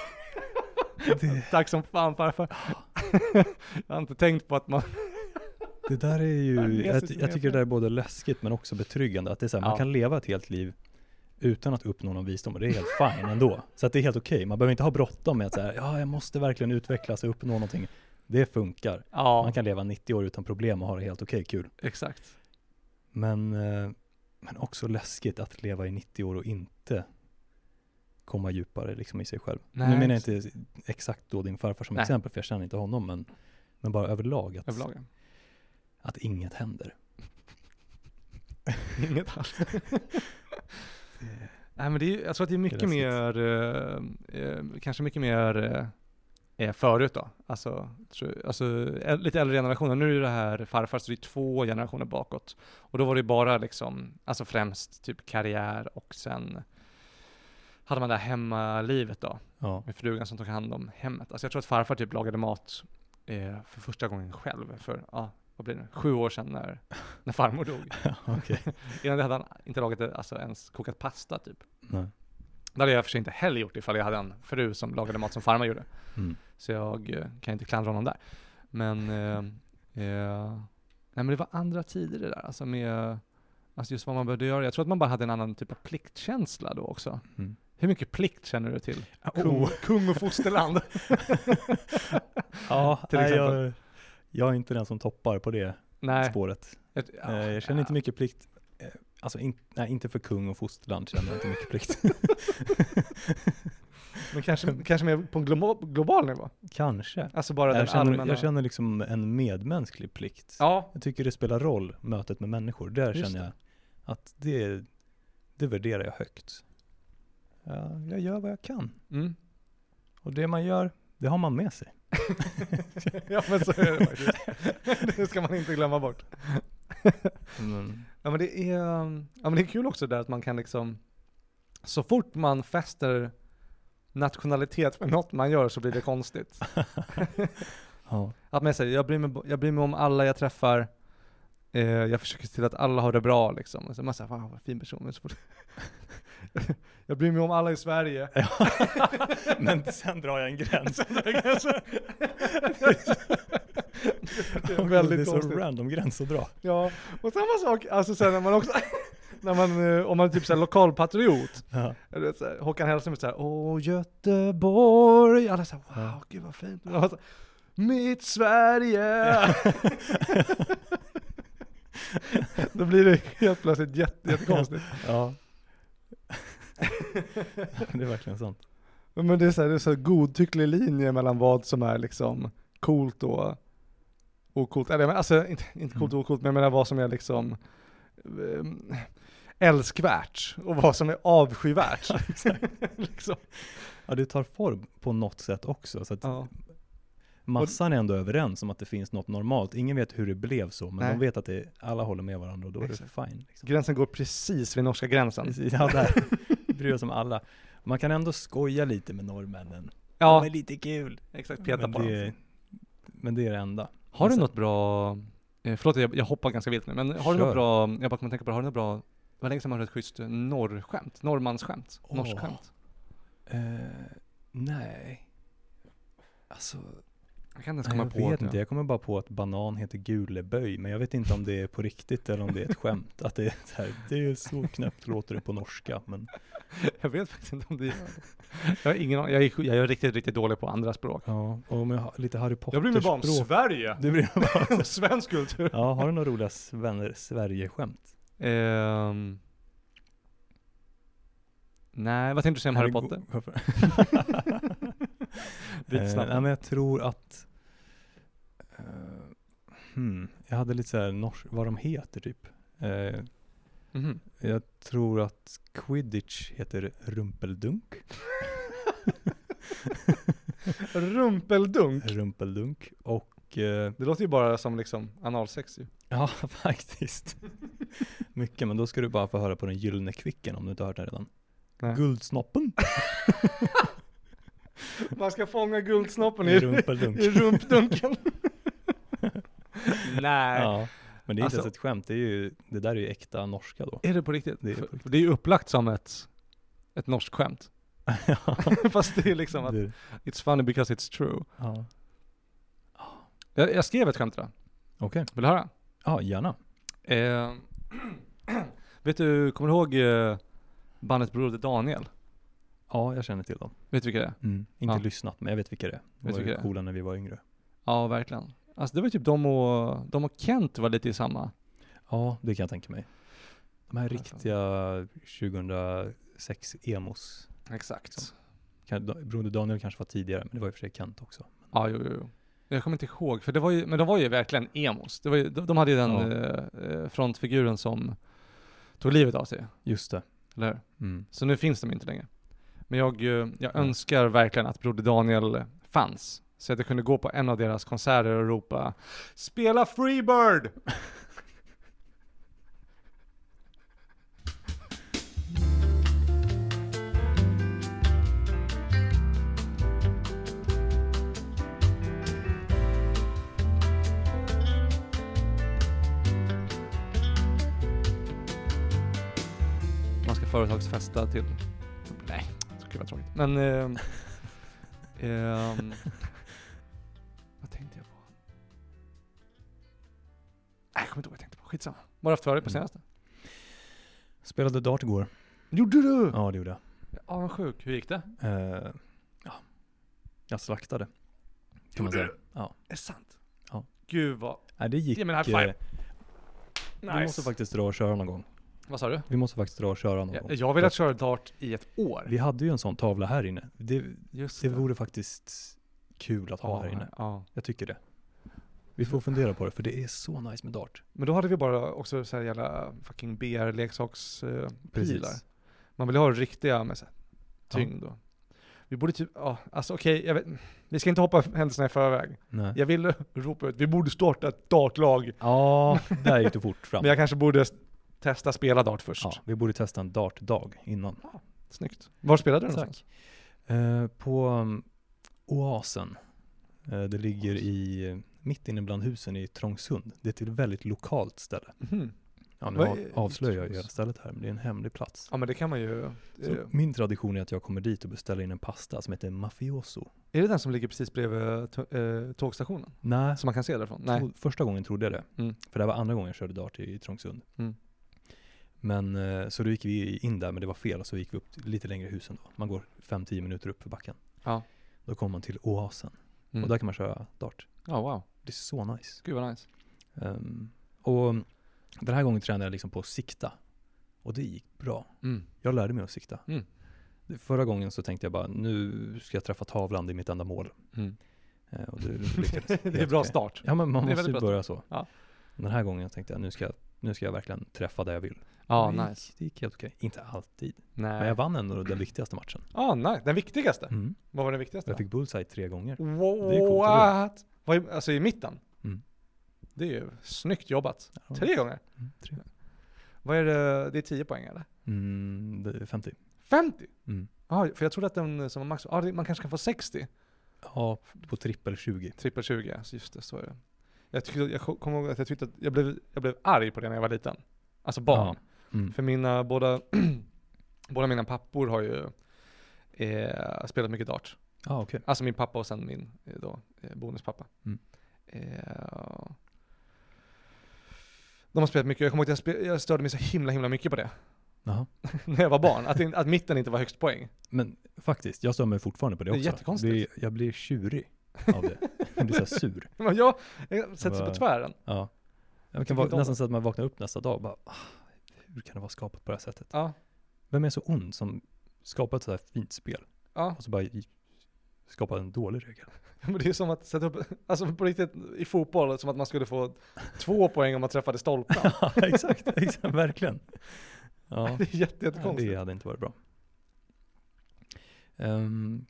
Speaker 2: Tack som fan farfar. Jag har inte tänkt på att man...
Speaker 1: Det där är
Speaker 2: Ja, det
Speaker 1: ju,
Speaker 2: är
Speaker 1: jag,
Speaker 2: så som
Speaker 1: jag
Speaker 2: är
Speaker 1: tycker det
Speaker 2: fel.
Speaker 1: där är både läskigt men också betryggande. Att det är så här,
Speaker 2: Ja.
Speaker 1: man kan leva ett helt liv utan att uppnå någon visdom och det är helt fine ändå. Så att det är helt okej. Man behöver inte ha bråttom med att så här, ja, jag måste verkligen utvecklas och uppnå någonting. Det funkar.
Speaker 2: Ja,
Speaker 1: Man kan leva 90 år utan problem och ha det helt okej kul.
Speaker 2: exakt.
Speaker 1: Men, eh, men också läskigt att leva i 90 år och inte komma djupare liksom i sig själv.
Speaker 2: Nej,
Speaker 1: nu menar jag inte exakt då din farfar som
Speaker 2: Nej.
Speaker 1: exempel, för jag känner inte honom, men, men bara överlag att,
Speaker 2: Överlag.
Speaker 1: att inget händer.
Speaker 2: Inget alls. Nej men det är, ju- jag tror att det är mycket
Speaker 1: Det
Speaker 2: mer, eh, eh, kanske mycket mer eh, eh, förut då. Alltså, tror, alltså äl- lite äldre generationer. Nu är ju det här farfar, så det är två generationer bakåt. Och då var det ju bara liksom, alltså främst typ karriär och sen hade man det här hemmalivet då.
Speaker 1: Ja.
Speaker 2: Med frugan som tog hand om hemmet. Alltså jag tror att farfar typ lagade mat eh, för första gången själv för, ja, vad blir det, sju år sedan när, när farmor dog.
Speaker 1: Okej.
Speaker 2: Innan det hade han inte lagat det, alltså ens kokat pasta typ.
Speaker 1: Nej.
Speaker 2: Det hade jag i och för sig inte heller gjort ifall jag hade en fru som lagade mat som farmor gjorde.
Speaker 1: Mm.
Speaker 2: Så jag eh, kan inte klandra honom där. Men, eh, eh, nej men det var andra tider det där. Alltså med, alltså just vad man behövde göra. Jag tror att man bara hade en annan typ av pliktkänsla då också.
Speaker 1: Mm.
Speaker 2: Hur mycket plikt känner du till?
Speaker 1: Oh.
Speaker 2: kung och fosterland.
Speaker 1: Ja,
Speaker 2: Till
Speaker 1: nej,
Speaker 2: exempel.
Speaker 1: jag, jag är inte den som toppar på det
Speaker 2: nej.
Speaker 1: spåret.
Speaker 2: Jag,
Speaker 1: Eh, Jag känner inte mycket plikt. Eh, Alltså, in, nej, inte för kung och fosterland känner jag inte mycket plikt.
Speaker 2: Men ah, kanske, kanske mer på en global, global nivå?
Speaker 1: Kanske.
Speaker 2: Alltså bara den
Speaker 1: Jag känner,
Speaker 2: allmänna...
Speaker 1: jag känner liksom en medmänsklig plikt.
Speaker 2: Ja,
Speaker 1: Jag tycker det spelar roll, mötet med människor. Där
Speaker 2: Just
Speaker 1: känner jag att det, det värderar jag högt. Ja, jag gör vad jag kan.
Speaker 2: mm.
Speaker 1: Och det man gör, det har man med sig.
Speaker 2: ja men så är det faktiskt. det ska man inte glömma bort.
Speaker 1: Mm.
Speaker 2: Ja men det är, um, ja, men det är kul också där att man kan liksom, så fort man fäster nationalitet med något man gör så blir det konstigt.
Speaker 1: ja.
Speaker 2: Att man säger, jag bryr mig, jag bryr mig om alla jag träffar, eh, jag försöker se till att alla har det bra liksom. Och så är man säger, fan vad fin person. Men så fort- jag bryr mig om alla i Sverige.
Speaker 1: Men sen drar jag en gräns.
Speaker 2: Det är väldigt
Speaker 1: det är så
Speaker 2: konstigt.
Speaker 1: random gräns att dra.
Speaker 2: Ja, och samma sak, alltså sen när man också, när man, eh, om man är typ såhär lokalpatriot,
Speaker 1: Ja.
Speaker 2: du vet, såhär, Håkan Hellström är såhär Åh Göteborg, alla såhär wow, gud vad fint. Och jag så här, Mitt Sverige! Då blir det helt plötsligt jätte, jättekonstigt.
Speaker 1: ja. det är verkligen sant.
Speaker 2: Men det är såhär, det är så här godtycklig linje mellan vad som är liksom coolt och ocoolt. Eller jag menar, alltså inte, inte coolt och ocoolt, men jag menar vad som är liksom eh, älskvärt och vad som är avskyvärt. liksom.
Speaker 1: Ja, det tar form på något sätt också. Så att
Speaker 2: ja.
Speaker 1: massan är ändå överens om att det finns något normalt. Ingen vet hur det blev så, men
Speaker 2: Nej.
Speaker 1: de vet att det, alla håller med varandra och då
Speaker 2: Exakt.
Speaker 1: är det fine. Liksom.
Speaker 2: Gränsen går precis vid norska gränsen.
Speaker 1: Precis, Ja, där. Bryr oss om alla. Man kan ändå skoja lite med norrmännen.
Speaker 2: Ja,
Speaker 1: De är lite kul.
Speaker 2: exakt. Peta
Speaker 1: men,
Speaker 2: på
Speaker 1: det,
Speaker 2: dem.
Speaker 1: är- men det är det enda.
Speaker 2: Har du
Speaker 1: Alltså-
Speaker 2: något bra, eh, förlåt jag, jag hoppar ganska vilt nu, men har du något
Speaker 1: Kör.
Speaker 2: bra, jag bara kommer att tänka på det, har du något bra, det var länge sedan man hörde ett schysst norrskämt, norrmansskämt,
Speaker 1: Åh.
Speaker 2: norskt skämt.
Speaker 1: Eh, nej. Alltså,
Speaker 2: Jag kan inte ens
Speaker 1: nej,
Speaker 2: komma
Speaker 1: jag
Speaker 2: på
Speaker 1: vet
Speaker 2: det.
Speaker 1: inte. Jag kommer bara på att banan heter guleböj, men jag vet inte om det är på riktigt eller om det är ett skämt. Att det är så här, det är så knäppt låter det på norska, men
Speaker 2: Jag vet faktiskt inte om det Jag har ingen aning. Jag är, sj- jag är riktigt, riktigt dålig på andra språk.
Speaker 1: ja, och med ha- lite Harry Potter.
Speaker 2: Sverige!
Speaker 1: Du bryr mig bara om
Speaker 2: svensk kultur.
Speaker 1: Ja, har du några roliga sven- Sverige-skämt?
Speaker 2: Ehm. nej, vad tänkte du säga om Harry
Speaker 1: Herregud,
Speaker 2: Potter?
Speaker 1: varför?
Speaker 2: Lite
Speaker 1: Eh,
Speaker 2: snabbt.
Speaker 1: nej, men jag tror att... eh, hmm, jag hade lite så här nors- vad de heter typ. Eh,
Speaker 2: Mhm.
Speaker 1: jag tror att quidditch heter rumpeldunk.
Speaker 2: Rumpeldunk.
Speaker 1: rumpeldunk. Och eh,
Speaker 2: Det låter ju bara som liksom analsex ju.
Speaker 1: ja, faktiskt. Mycket, men då ska du bara få höra på den gyllene kvicken om du inte har hört den redan.
Speaker 2: Nej.
Speaker 1: Guldsnoppen
Speaker 2: Man ska fånga guldsnoppen
Speaker 1: i rumpeldunk.
Speaker 2: rumpdunken. nej.
Speaker 1: ja. Men det är inte
Speaker 2: Alltså-
Speaker 1: ens ett skämt, det, är ju, det där är ju äkta norska då.
Speaker 2: Är det på riktigt?
Speaker 1: Det är
Speaker 2: För-
Speaker 1: på riktigt.
Speaker 2: för det är ju upplagt som ett, ett norskt skämt. Fast det är liksom att
Speaker 1: Det-
Speaker 2: it's funny because it's true.
Speaker 1: ja.
Speaker 2: Jag, jag skrev ett skämt idag.
Speaker 1: Okej,
Speaker 2: Vill du höra?
Speaker 1: ja gärna.
Speaker 2: Eh, vet du, kommer du ihåg eh, bandet Broder Daniel?
Speaker 1: Ja, jag känner till dem.
Speaker 2: Vet du vilka det är?
Speaker 1: Inte
Speaker 2: Mm. Ja.
Speaker 1: lyssnat, men jag vet vilka det är. De
Speaker 2: Vet
Speaker 1: var
Speaker 2: vilka
Speaker 1: ju
Speaker 2: det är.
Speaker 1: coola när vi var yngre.
Speaker 2: Ja, verkligen. Alltså det var typ de och, de och Kent var lite i samma.
Speaker 1: Ja, det kan jag tänka mig. De här
Speaker 2: Ja,
Speaker 1: riktiga 2006-emos.
Speaker 2: Exakt.
Speaker 1: Broder Daniel kanske var tidigare, men det var i och för sig Kent också.
Speaker 2: Ja, jo, jo, jo. Jag kommer inte ihåg, för det var ju, men de var ju verkligen emos. Det var ju, de, de hade ju den
Speaker 1: Ja.
Speaker 2: eh, eh, frontfiguren som tog livet av sig,
Speaker 1: Just det.
Speaker 2: eller hur?
Speaker 1: Mm.
Speaker 2: Så nu finns de inte längre. Men jag, eh, jag önskar verkligen att Broder Daniel fanns. Så att jag kunde gå på en av deras konserter och ropa Spela Freebird! Man ska företagsfesta till... Nej, det skulle vara tråkigt. Men... ehm, ehm, vad tänkte jag på? Nej, jag kommer inte ihåg vad jag tänkte på. Skitsamma. Vad har du haft för dig på
Speaker 1: Mm.
Speaker 2: senaste?
Speaker 1: Spelade dart igår.
Speaker 2: Gjorde du? Ja,
Speaker 1: Ja, det gjorde jag.
Speaker 2: ja vad sjuk. Hur gick det?
Speaker 1: Eh, ja. Jag slaktade. Kan man säga. Ja.
Speaker 2: Är det sant?
Speaker 1: Ja.
Speaker 2: Gud vad...
Speaker 1: Nej, det gick...
Speaker 2: Ge mig en high five.
Speaker 1: eh, Vi måste
Speaker 2: Nice.
Speaker 1: faktiskt dra och köra någon gång.
Speaker 2: Vad sa du?
Speaker 1: Vi måste faktiskt dra och köra någon
Speaker 2: Jag,
Speaker 1: gång.
Speaker 2: jag har velat köra dart i ett år.
Speaker 1: Vi hade ju en sån tavla här inne. Det,
Speaker 2: Just
Speaker 1: det vore faktiskt kul att ha här inne.
Speaker 2: Ja.
Speaker 1: Jag tycker det. Vi får fundera på det, för det är så nice med dart.
Speaker 2: Men då hade vi bara också så här jävla fucking BR-leksakspilar. Man vill ha riktiga med så här, tyngd då. Vi borde typ, ja, alltså okej, jag vet- vi ska inte hoppa händelserna i förväg.
Speaker 1: Nej.
Speaker 2: Jag vill ropa ut, vi borde starta ett dartlag.
Speaker 1: Ja, där gick du fort fram.
Speaker 2: Men jag kanske borde s- testa spela dart först.
Speaker 1: Ja, vi borde testa en dartdag innan.
Speaker 2: Snyggt. Var spelade du
Speaker 1: Tack.
Speaker 2: någonstans?
Speaker 1: Eh, på um, Oasen. Eh, det ligger i, eh, mitt inne bland husen i Trångsund. Det är ett väldigt lokalt ställe.
Speaker 2: Mhm.
Speaker 1: Ja, nu
Speaker 2: Vad
Speaker 1: av,
Speaker 2: är-
Speaker 1: avslöjar jag ju
Speaker 2: Trångs-
Speaker 1: hela stället här, men det är en hemlig plats.
Speaker 2: Ja men det kan man ju. eh,
Speaker 1: Så min tradition är att jag kommer dit och beställer in en pasta som heter mafioso.
Speaker 2: Är det den som ligger precis bredvid t- eh, tågstationen?
Speaker 1: Nej,
Speaker 2: Som man kan se därifrån?
Speaker 1: Tro- Första gången trodde jag det.
Speaker 2: Mm.
Speaker 1: För det här var andra gången jag körde dart i, i Trångsund.
Speaker 2: Mm.
Speaker 1: Men eh, så då gick vi in där, men det var fel. Och så gick vi upp till- lite längre i husen då. Man går 5-10 minuter upp för backen.
Speaker 2: Ja.
Speaker 1: Då kommer man till oasen.
Speaker 2: Mm.
Speaker 1: Och där kan man köra dart.
Speaker 2: Ja Oh, wow.
Speaker 1: Det är så nice.
Speaker 2: Gud vad nice.
Speaker 1: Ehm, och den här gången tränade jag liksom på att sikta. Och det gick bra.
Speaker 2: Mm.
Speaker 1: Jag lärde mig att sikta.
Speaker 2: Mm.
Speaker 1: Det- Förra gången så tänkte jag bara, nu ska jag träffa tavlan, det är mitt enda mål.
Speaker 2: Mm.
Speaker 1: Eh, och det lyckades.
Speaker 2: det är
Speaker 1: Helt
Speaker 2: bra
Speaker 1: okej.
Speaker 2: start.
Speaker 1: Ja men man
Speaker 2: typ. Det är
Speaker 1: måste ju
Speaker 2: väldigt bra
Speaker 1: börja så.
Speaker 2: Ja.
Speaker 1: Den här gången tänkte jag nu ska jag nu ska jag verkligen träffa där jag vill.
Speaker 2: Ja,
Speaker 1: det gick-
Speaker 2: nice.
Speaker 1: Det gick helt okej. Inte alltid. Men
Speaker 2: Nej.
Speaker 1: jag vann ändå den viktigaste matchen.
Speaker 2: Ja, nice. Den viktigaste.
Speaker 1: Mm.
Speaker 2: Vad var den
Speaker 1: Och Jag
Speaker 2: viktigaste?
Speaker 1: fick bullseye tre gånger. är coolt,
Speaker 2: What? Vad i- Alltså i mitten?
Speaker 1: Mm.
Speaker 2: Det är ju snyggt jobbat.
Speaker 1: Ja.
Speaker 2: Tre gånger?
Speaker 1: Mm, tre.
Speaker 2: Vad är det? Det är 10 poäng eller?
Speaker 1: Mm, det är 50.
Speaker 2: 50?
Speaker 1: Mm.
Speaker 2: Ja, för jag trodde att den som var max, ja det- man kanske kan få 60?
Speaker 1: Ja, på trippel 20.
Speaker 2: Trippel 20, alltså just det, så är det. Jag, tyckte, jag ko- kommer ihåg att jag tyckte att jag blev, jag blev arg på det när jag var liten. Alltså barn.
Speaker 1: Ja. Mm.
Speaker 2: För mina båda, båda mina pappor har ju eh, spelat mycket dart.
Speaker 1: Ah, okej.
Speaker 2: Alltså min pappa och sen min eh, då, eh, bonuspappa.
Speaker 1: Mm.
Speaker 2: Eh, de har spelat mycket, jag kommer ihåg att jag, spe- jag störde mig så himla himla mycket på det.
Speaker 1: Jaha.
Speaker 2: När jag var barn, att, in- att mitten inte var högst poäng.
Speaker 1: Men faktiskt, jag stör mig fortfarande på det
Speaker 2: Det är
Speaker 1: också.
Speaker 2: jättekonstigt.
Speaker 1: Det- jag blir tjurig av det. jag blir så här sur.
Speaker 2: Men jag, jag sätter sig på
Speaker 1: Vad-
Speaker 2: tvären.
Speaker 1: Ja. Jag
Speaker 2: Tycker
Speaker 1: kan vara,
Speaker 2: inte om
Speaker 1: nästan
Speaker 2: det.
Speaker 1: så att man vaknar upp nästa dag och bara, ah, hur kan det vara skapat på det här sättet?
Speaker 2: Ja,
Speaker 1: Vem är så ond som skapar ett så här fint spel
Speaker 2: ja.
Speaker 1: och så bara i- skapar en dålig regel?
Speaker 2: Men det är som att sätta upp, alltså på riktigt i fotboll, som att man skulle få två poäng om man träffade stolpen.
Speaker 1: Ja, exakt, exakt, verkligen. Ja,
Speaker 2: Det är jätte,
Speaker 1: ja,
Speaker 2: jättekonstigt.
Speaker 1: det hade inte varit bra. Ehm,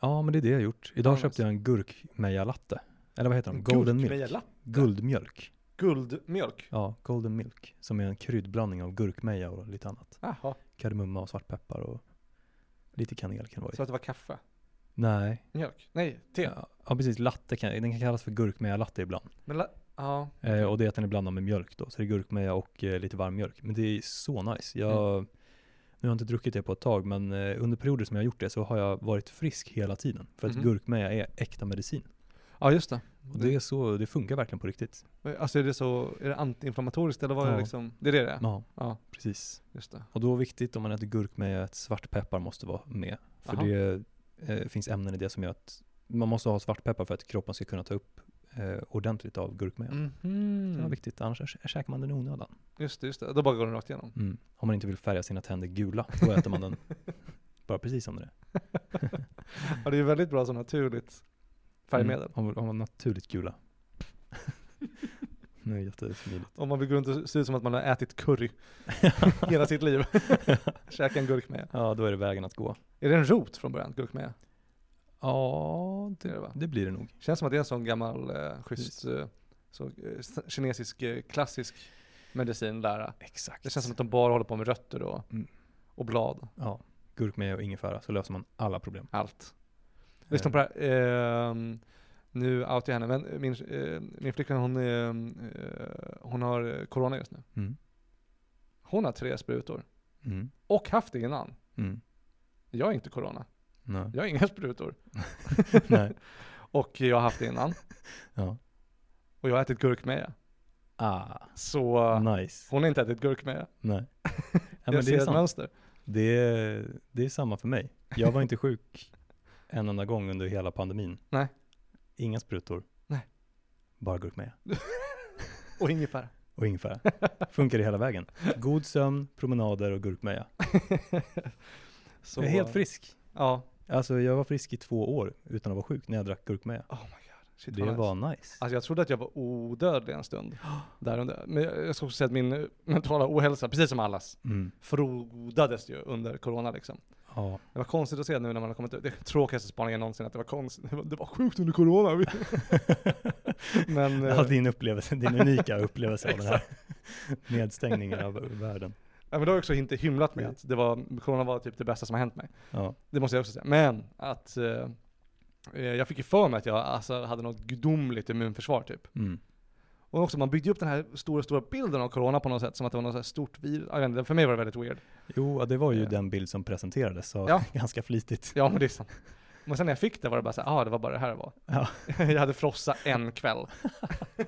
Speaker 1: ja, men det är det jag gjort. Idag
Speaker 2: Ja,
Speaker 1: köpte
Speaker 2: nice.
Speaker 1: jag en gurkmejalatte. Eller vad heter de?
Speaker 2: En
Speaker 1: Golden
Speaker 2: gurk
Speaker 1: milk.
Speaker 2: med gälla.
Speaker 1: Guldmjölk.
Speaker 2: Guldmjölk.
Speaker 1: Ja, golden milk. Som är en kryddblandning av gurkmeja och lite annat.
Speaker 2: Jaha,
Speaker 1: Kardemumma och svartpeppar och lite kanel kan det vara i.
Speaker 2: så att det var kaffe.
Speaker 1: Nej.
Speaker 2: Mjölk? Nej, te.
Speaker 1: Ja, ja, precis. Latte kan, den kan kallas för gurkmeja-latte ibland.
Speaker 2: Men la, ja.
Speaker 1: Eh, och det är att den är blandad med mjölk då. Så det är gurkmeja och eh, lite varm mjölk. Men det är så nice. Jag,
Speaker 2: Mm.
Speaker 1: Nu har jag inte druckit det på ett tag, men eh, under perioder som jag har gjort det så har jag varit frisk hela tiden. För att
Speaker 2: Mhm.
Speaker 1: gurkmeja är äkta medicin.
Speaker 2: ja, just det.
Speaker 1: Och det, är så, det funkar verkligen på riktigt.
Speaker 2: Alltså är det så, är det antiinflammatoriskt eller vad är det
Speaker 1: Ja.
Speaker 2: liksom? Det är det det är?
Speaker 1: Ja,
Speaker 2: Ja,
Speaker 1: precis.
Speaker 2: just det.
Speaker 1: Och då är det viktigt om man äter gurkmeja att svartpeppar måste vara med. För
Speaker 2: Aha.
Speaker 1: det eh, finns ämnen i det som gör att man måste ha svartpeppar för att kroppen ska kunna ta upp eh, ordentligt av gurkmeja.
Speaker 2: Mm.
Speaker 1: Det är
Speaker 2: Mhm.
Speaker 1: viktigt, annars kä- käkar man den i onödan.
Speaker 2: Just det, just det. Då bara går den rakt igenom.
Speaker 1: Mm. Om man inte vill färga sina tänder gula, då äter man den bara precis som den är.
Speaker 2: Ja, det är ju väldigt bra så naturligt färgmedel.
Speaker 1: Mm. Om, man- om man naturligt gula. det är jättesmidigt.
Speaker 2: Om man vill gå runt och se ut som att man har ätit curry hela sitt liv. Käka en gurkmeja.
Speaker 1: ja, då är det vägen att gå.
Speaker 2: Är det en rot från början, gurkmeja?
Speaker 1: Ja,
Speaker 2: Det är det va?
Speaker 1: det blir det nog.
Speaker 2: Känns som att det är en sån gammal eh, schysst eh, så, eh, s- kinesisk eh, klassisk medicinlära.
Speaker 1: Exakt.
Speaker 2: Det känns som att de bara håller på med rötter och,
Speaker 1: Mm.
Speaker 2: och blad.
Speaker 1: Ja, gurkmeja och ingefära så löser man alla problem. Eh,
Speaker 2: Allt. Lyssna på det här. ehm, nu outar jag henne, men min, eh, min flickvän hon, ehm, eh, hon har eh, corona just nu.
Speaker 1: Mm.
Speaker 2: Hon har tre sprutor.
Speaker 1: Mm.
Speaker 2: Och haft det innan.
Speaker 1: Mm.
Speaker 2: Jag har inte corona.
Speaker 1: Nej.
Speaker 2: Jag har inga sprutor.
Speaker 1: Nej.
Speaker 2: Och jag har haft det innan.
Speaker 1: Ja.
Speaker 2: Och jag har ätit gurkmeja.
Speaker 1: Ah,
Speaker 2: Så
Speaker 1: nice.
Speaker 2: hon har inte ätit gurkmeja.
Speaker 1: Nej. Ja,
Speaker 2: jag
Speaker 1: men det
Speaker 2: ser
Speaker 1: är
Speaker 2: ett
Speaker 1: sant.
Speaker 2: mönster.
Speaker 1: Det är, det är samma för mig. Jag var inte sjuk en enda gång under hela pandemin.
Speaker 2: Nej.
Speaker 1: Inga sprutor.
Speaker 2: Nej.
Speaker 1: Bara gurkmeja.
Speaker 2: Och ingefära.
Speaker 1: Och ingefära. Funkar det hela vägen. God sömn, promenader och gurkmeja.
Speaker 2: Så,
Speaker 1: Jag är helt frisk.
Speaker 2: Ja.
Speaker 1: Alltså jag var frisk i två år utan att vara sjuk när jag drack gurkmeja.
Speaker 2: Oh my god. Shit,
Speaker 1: Det
Speaker 2: vad nice.
Speaker 1: var nice.
Speaker 2: Alltså jag trodde att jag var odödlig en stund. Där under. Men jag jag ska också säga att min eh, mentala ohälsa, precis som allas,
Speaker 1: Mm.
Speaker 2: frodades ju under corona liksom.
Speaker 1: Ja.
Speaker 2: Det var konstigt att se nu när man har kommit ut. Det är tråkigaste spaningen någonsin att det var konstigt. Det var, det var sjukt under corona. Men eh,
Speaker 1: Ja, din upplevelse, din unika upplevelse av den här nedstängningen av världen.
Speaker 2: ja, men det har jag också inte hymlat med att det var, corona var typ det bästa som har hänt mig.
Speaker 1: Ja.
Speaker 2: Det måste jag också säga. Men att eh, eh, jag fick ju för mig att jag alltså, hade något gudomligt immunförsvar typ.
Speaker 1: Mm.
Speaker 2: Och också man byggde upp den här stora, stora bilden av corona på något sätt. Som att det var något så här stort virus. Ja, jag vet inte, För mig var det väldigt weird.
Speaker 1: Jo, ja, det var ju
Speaker 2: Ja.
Speaker 1: den bild som presenterades så
Speaker 2: Eh. Ja.
Speaker 1: ganska flitigt.
Speaker 2: Ja men det är sant. Men sen när jag fick det var det bara såhär, ah det var bara det här det var.
Speaker 1: Ja.
Speaker 2: jag hade frossa en kväll.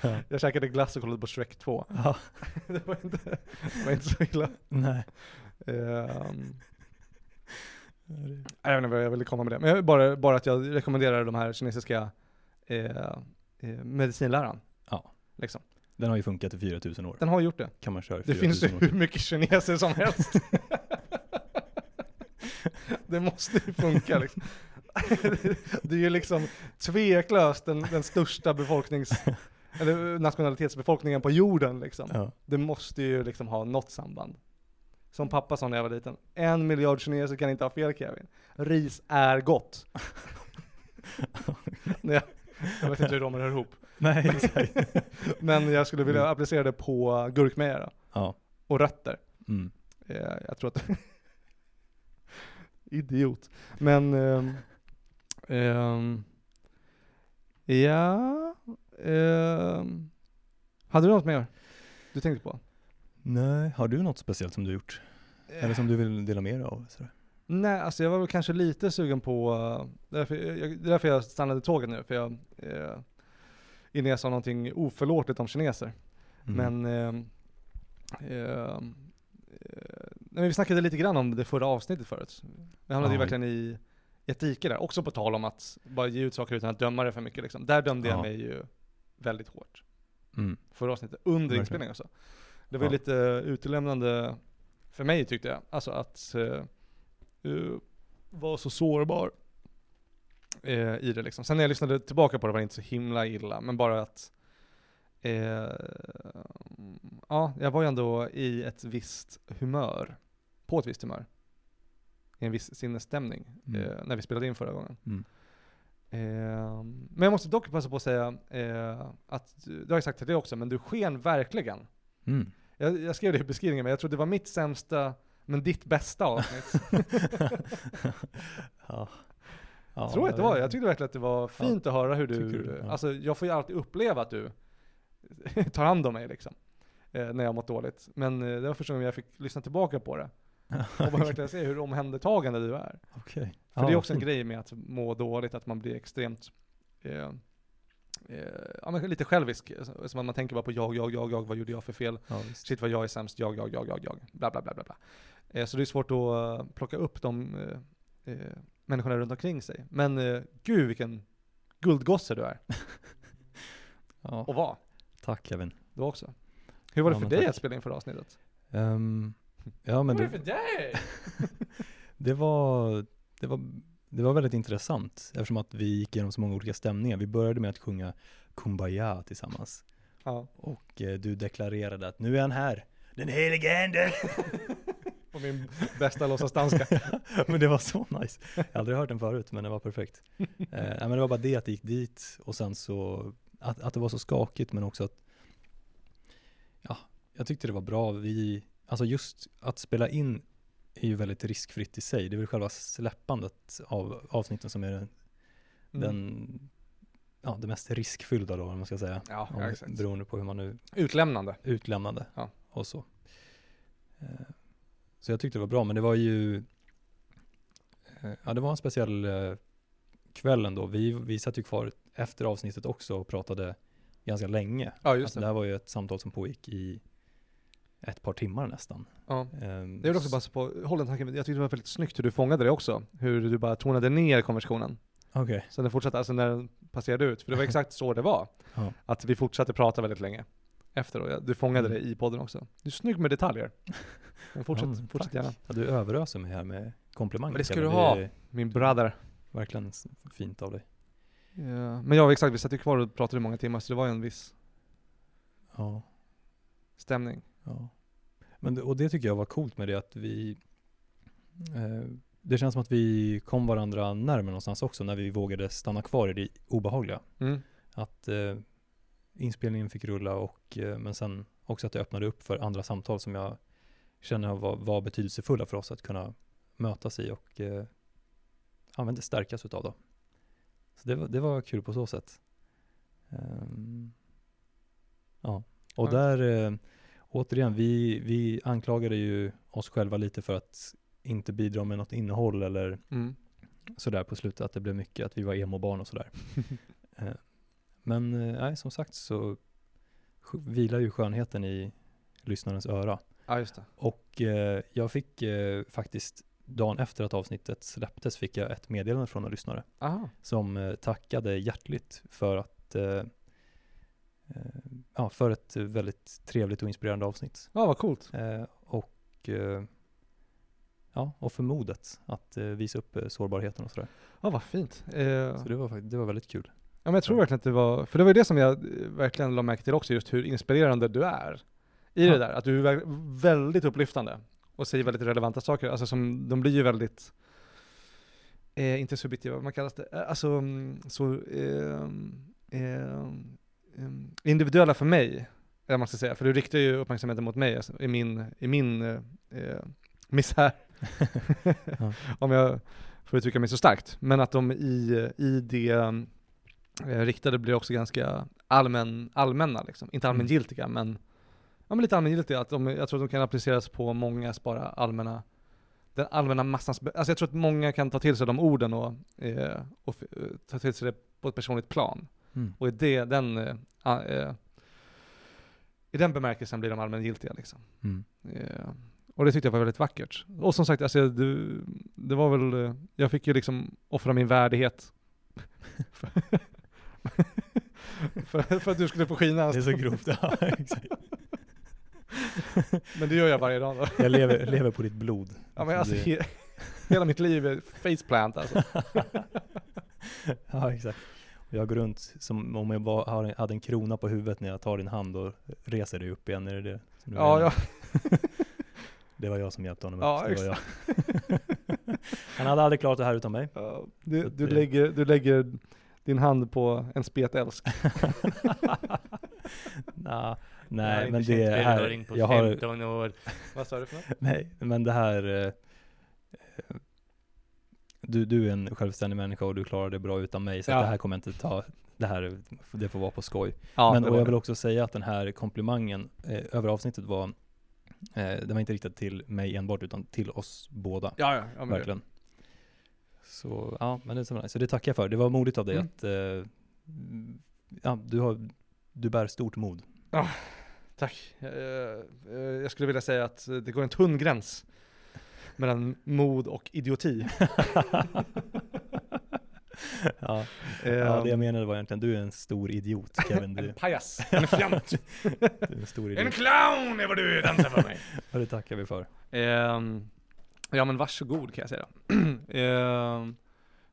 Speaker 1: Ja.
Speaker 2: Jag käkade glass och kollade på Shrek 2.
Speaker 1: Ja.
Speaker 2: det, var inte, det var inte så illa.
Speaker 1: Nej.
Speaker 2: Ehm,
Speaker 1: det-
Speaker 2: jag vet inte vad jag ville komma med det. Men jag vill bara, bara att jag rekommenderar de här kinesiska eh, eh, medicinläraren.
Speaker 1: Ja.
Speaker 2: Liksom.
Speaker 1: Den har ju funkat i 4000 år.
Speaker 2: Den har gjort det.
Speaker 1: Kan man köra i
Speaker 2: Det finns ju
Speaker 1: 4000 år?
Speaker 2: hur mycket kineser som helst. det måste ju funka liksom. Det är ju liksom tveklöst den, den största befolknings... eller nationalitetsbefolkningen på jorden liksom.
Speaker 1: Ja.
Speaker 2: Det måste ju liksom ha något samband. Som pappa sa när jag var liten, en miljard kineser kan inte ha fel Kevin. Ris är gott. Nej, jag vet inte hur de hör ihop.
Speaker 1: Nej, exakt.
Speaker 2: Men jag skulle vilja applicera det på gurkmeja då,
Speaker 1: ja.
Speaker 2: och rötter.
Speaker 1: Mm.
Speaker 2: Eh, jag tror att... Idiot. Men... ehm, ehm, ja... ehm, hade du något mer du tänkte på?
Speaker 1: Nej, har du något speciellt som du gjort? Eller som du vill dela med dig av? Sådär.
Speaker 2: Nej, alltså jag var väl kanske lite sugen på, eh, därför jag, det är därför jag stannade tåget nu, för jag, eh, innan jag sa någonting oförlåtligt om kineser.
Speaker 1: Mm.
Speaker 2: Men, eh, eh, eh, nej, men vi snackade lite grann om det förra avsnittet förut. Vi hamnade ju
Speaker 1: Ja.
Speaker 2: verkligen i ett dike där, också på tal om att bara ge ut saker utan att döma det för mycket liksom. Där dömde jag
Speaker 1: Ja.
Speaker 2: mig ju väldigt hårt
Speaker 1: Mm.
Speaker 2: förra avsnittet, under
Speaker 1: Verkligen.
Speaker 2: inspelningen också. Det var ju
Speaker 1: Ja.
Speaker 2: lite utelämnande för mig tyckte jag. Alltså att eh, eh, vara så sårbar eh, i det liksom. Sen när jag lyssnade tillbaka på det var det inte så himla illa, men bara att eh, ja, jag var ju ändå i ett visst humör, på ett visst humör, i en viss sinnesstämning
Speaker 1: Mm.
Speaker 2: eh, när vi spelade in förra gången.
Speaker 1: Mm.
Speaker 2: Eh, men jag måste dock passa på att säga eh, att, du du har ju sagt till det också, men du sken verkligen.
Speaker 1: Mm.
Speaker 2: Jag, jag skrev det i beskrivningen, men jag tror det var mitt sämsta, men ditt bästa avsnitt.
Speaker 1: ja. Ja,
Speaker 2: tror jag att det var. Jag tyckte verkligen att det var fint att höra hur du,
Speaker 1: Tycker du? Ja.
Speaker 2: alltså jag får ju alltid uppleva att du tar hand om mig liksom. Eh, när jag har mått dåligt. Men eh, det var första gången jag fick lyssna tillbaka på det. Och bara verkligen se hur omhändertagande du är.
Speaker 1: Okej.
Speaker 2: För det är också en
Speaker 1: mm.
Speaker 2: grej med att må dåligt, att man blir extremt eh, eh, ja, men lite självisk. Alltså, Som att man tänker bara på jag, jag, jag, jag, vad gjorde jag för fel?
Speaker 1: Ja, visst.
Speaker 2: Shit vad jag är sämst, jag, jag, jag, jag, jag, bla bla bla bla. bla. Eh, så det är svårt att eh, plocka upp de eh, eh, människorna runt omkring sig. Men eh, gud vilken guldgosse du är,
Speaker 1: Ja.
Speaker 2: och var,
Speaker 1: Tack Kevin.
Speaker 2: du också. Hur var det
Speaker 1: Ja,
Speaker 2: för
Speaker 1: men
Speaker 2: dig
Speaker 1: tack.
Speaker 2: att spela in förra avsnittet?
Speaker 1: Ehm, ja, men det,
Speaker 2: för dig?
Speaker 1: det, var, det, var, det var väldigt intressant eftersom att vi gick igenom så många olika stämningar. Vi började med att sjunga Kumbaya tillsammans
Speaker 2: Ja,
Speaker 1: och eh, du deklarerade att nu är han här. Den helige ande!
Speaker 2: och min bästa låtsasdanska.
Speaker 1: men det var så nice. Jag har aldrig hört den förut men den var perfekt. Eh, nej, men det var bara det att det gick dit och sen så att, att det var så skakigt men också att ja, jag tyckte det var bra. Vi, alltså just att spela in är ju väldigt riskfritt i sig. Det är väl själva släppandet av avsnitten som är den,
Speaker 2: mm.
Speaker 1: den ja, det mest riskfyllda då, om man ska säga.
Speaker 2: Ja,
Speaker 1: Om,
Speaker 2: ja, exakt.
Speaker 1: beroende på hur man nu
Speaker 2: Utlämnande.
Speaker 1: utlämnade
Speaker 2: Ja.
Speaker 1: och så. Eh, Så jag tyckte det var bra, men det var ju, eh, ja det var en speciell eh, kväll ändå. Vi, vi satt ju kvar efter avsnittet också och pratade ganska länge.
Speaker 2: Ja,
Speaker 1: Alltså, det här var ju ett samtal som pågick i ett par timmar nästan.
Speaker 2: Ja.
Speaker 1: Ehm,
Speaker 2: Jag vill också passa på, håll den tanken, jag tyckte det var väldigt snyggt hur du fångade det också. Hur du bara tonade ner konversationen.
Speaker 1: Okej,
Speaker 2: Sen den fortsatte, alltså när den passerade ut, för det var exakt så det var.
Speaker 1: Ja.
Speaker 2: Att vi fortsatte prata väldigt länge efter och jag- du fångade det i podden också. Du är snygg med detaljer. Men fortsätt,
Speaker 1: Ja, men
Speaker 2: fortsätt
Speaker 1: tack.
Speaker 2: gärna.
Speaker 1: ja, du överöser mig här med komplimanger.
Speaker 2: Men det ska
Speaker 1: Kevin.
Speaker 2: du ha.
Speaker 1: är
Speaker 2: Min brother.
Speaker 1: verkligen s- fint av dig.
Speaker 2: Ja. Men ja, exakt, vi satt ju kvar och pratade i många timmar, så det var ju en viss
Speaker 1: Ja.
Speaker 2: stämning.
Speaker 1: Ja. Men, det- och det tycker jag var coolt med det att vi eh, Det känns som att vi kom varandra närmare någonstans också när vi vågade stanna kvar i det obehagliga.
Speaker 2: Mm.
Speaker 1: Att eh, inspelningen fick rulla och eh, men sen också att det öppnade upp för andra samtal som jag känner var, var betydelsefulla för oss att kunna mötas i och eh, använda stärkas utav då. Så det var, det var kul på så sätt. Ehm, ja, och
Speaker 2: Ja.
Speaker 1: där eh, återigen, vi, vi anklagade ju oss själva lite för att inte bidra med något innehåll eller
Speaker 2: Mm.
Speaker 1: sådär på slutet, att det blev mycket att vi var emo-barn och sådär. Eh, Men eh, nej, som sagt så sj- vilar ju skönheten i lyssnarens öra.
Speaker 2: Ja, just det.
Speaker 1: Och eh, jag fick eh, faktiskt dagen efter att avsnittet släpptes fick jag ett meddelande från en lyssnare
Speaker 2: Aha.
Speaker 1: som eh, tackade hjärtligt för att eh, eh, ja, för ett väldigt trevligt och inspirerande avsnitt.
Speaker 2: Ja, vad coolt.
Speaker 1: Eh, och eh, ja, och för modet att eh, visa upp eh, sårbarheten och sådär.
Speaker 2: Ja, vad fint. Eh,
Speaker 1: Så det var, fakt- det var väldigt kul.
Speaker 2: Ja, men jag tror verkligen att det var, för det var ju det som jag eh, verkligen la märke till också, just hur inspirerande du är i det
Speaker 1: Ja.
Speaker 2: där. Att du är ver- väldigt upplyftande och säger väldigt relevanta saker. Alltså som, de blir ju väldigt, eh, inte subjektiva, vad man kallas det, Eh, alltså mm, så eh, eh, em, individuella för mig, eller vad man ska säga. För du riktar ju uppmärksamheten mot mig, alltså, i min, i min eh, eh, misär.
Speaker 1: Ja.
Speaker 2: Om jag får uttrycka mig så starkt. Men att de i, i det eh, riktade blir också ganska allmän, allmänna, liksom. inte
Speaker 1: Mm.
Speaker 2: allmängiltiga, men, ja, men lite allmängiltiga. Att de, jag tror att de kan appliceras på många bara allmänna, den allmänna massans, be- alltså jag tror att många kan ta till sig de orden och, eh, och f- eh, ta till sig det på ett personligt plan.
Speaker 1: Mm.
Speaker 2: Och i, det, den, eh, a- eh, i den bemärkelsen blir de allmängiltiga. Liksom.
Speaker 1: Mm.
Speaker 2: Eh, och det tyckte jag var väldigt vackert. Och som sagt, alltså, du, det var väl, eh, jag fick ju liksom offra min värdighet. för, för, för att du skulle få skina.
Speaker 1: Det är så grovt. Ja, exakt.
Speaker 2: Men det gör jag varje dag då.
Speaker 1: Jag lever, lever på ditt blod.
Speaker 2: Ja, men alltså,
Speaker 1: Det-
Speaker 2: he, hela mitt liv är faceplant alltså.
Speaker 1: ja, exakt. Och jag går runt som om jag var, har- hade en krona på huvudet när jag tar din hand och reser dig upp igen. Är det det? som du
Speaker 2: Ja,
Speaker 1: menar?
Speaker 2: ja,
Speaker 1: Det var jag som hjälpte honom
Speaker 2: Ja,
Speaker 1: upp. Det var jag. Han hade aldrig klarat det här utan mig.
Speaker 2: ja. Du,
Speaker 1: Att
Speaker 2: du,
Speaker 1: det-
Speaker 2: lägger, du lägger din hand på en spetälsk.
Speaker 1: Nah,
Speaker 4: Jag har
Speaker 1: nej,
Speaker 4: inte
Speaker 1: men
Speaker 4: känt
Speaker 1: det
Speaker 4: rengöring
Speaker 1: här,
Speaker 4: på
Speaker 1: jag har,
Speaker 4: 15 år.
Speaker 2: Vad sa du för något?
Speaker 1: nej, men det här, eh, eh, du, du är en självständig människa och du klarar det bra utan mig, så
Speaker 2: Ja.
Speaker 1: att det här kommer jag inte ta, det här, det får vara på skoj.
Speaker 2: Ja,
Speaker 1: men
Speaker 2: det
Speaker 1: och
Speaker 2: var
Speaker 1: jag
Speaker 2: det.
Speaker 1: vill också säga att den här komplimangen eh, över avsnittet var, eh, den var inte riktad till mig enbart utan till oss båda.
Speaker 2: Ja, ja, ja men det-
Speaker 1: verkligen. Så ja, men det, är så, nice. så det tackar jag för. Det var modigt av dig
Speaker 2: Mm.
Speaker 1: att, eh, ja, du, har, du bär stort mod.
Speaker 2: Tack. Eh, eh, Jag skulle vilja säga att eh, det går en tunn gräns mellan mod och idioti.
Speaker 1: ja,
Speaker 2: Eh,
Speaker 1: ja, det jag menade var egentligen, du är en stor idiot Kevin. Du,
Speaker 2: En pajas, en fjant,
Speaker 1: du är en stor
Speaker 2: en
Speaker 1: idiot.
Speaker 2: clown är vad du är, dansa för mig.
Speaker 1: Och det tackar vi för.
Speaker 2: Ehm, ja men varsågod kan jag säga då. Ehm,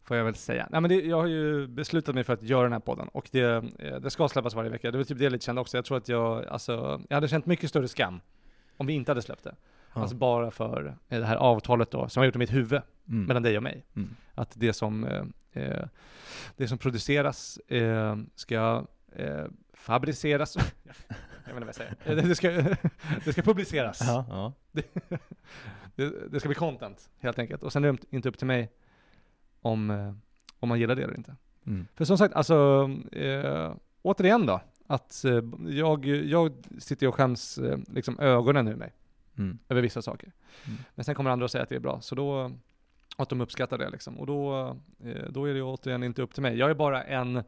Speaker 2: får jag väl säga. Nej men det, jag har ju beslutat mig för att göra den här podden och det, eh, det ska släppas varje vecka. Det var typ det jag lite kände också. Jag tror att jag, alltså, jag hade känt mycket större skam om vi inte hade släppt det.
Speaker 1: Ja.
Speaker 2: Alltså bara för eh, det här avtalet då, som jag gjort i mitt huvud
Speaker 1: Mm.
Speaker 2: mellan dig och mig.
Speaker 1: Mm.
Speaker 2: Att det som, eh, eh, det som produceras eh, ska eh, fabriceras. jag vet inte vad jag säger. Eh, Det, det, ska, det ska publiceras.
Speaker 1: Ja, ja.
Speaker 2: Det, det ska bli content helt enkelt. Och sen är det inte upp till mig om, eh, om man gillar det eller inte.
Speaker 1: Mm.
Speaker 2: För som sagt, alltså eh, återigen då, att eh, jag, jag sitter och skäms eh, liksom ögonen ur mig
Speaker 1: Mm.
Speaker 2: över vissa saker.
Speaker 1: Mm.
Speaker 2: Men sen kommer andra och säger att det är bra, så då, att de uppskattar det liksom. Och då, eh, då är det ju återigen inte upp till mig. Jag är bara en,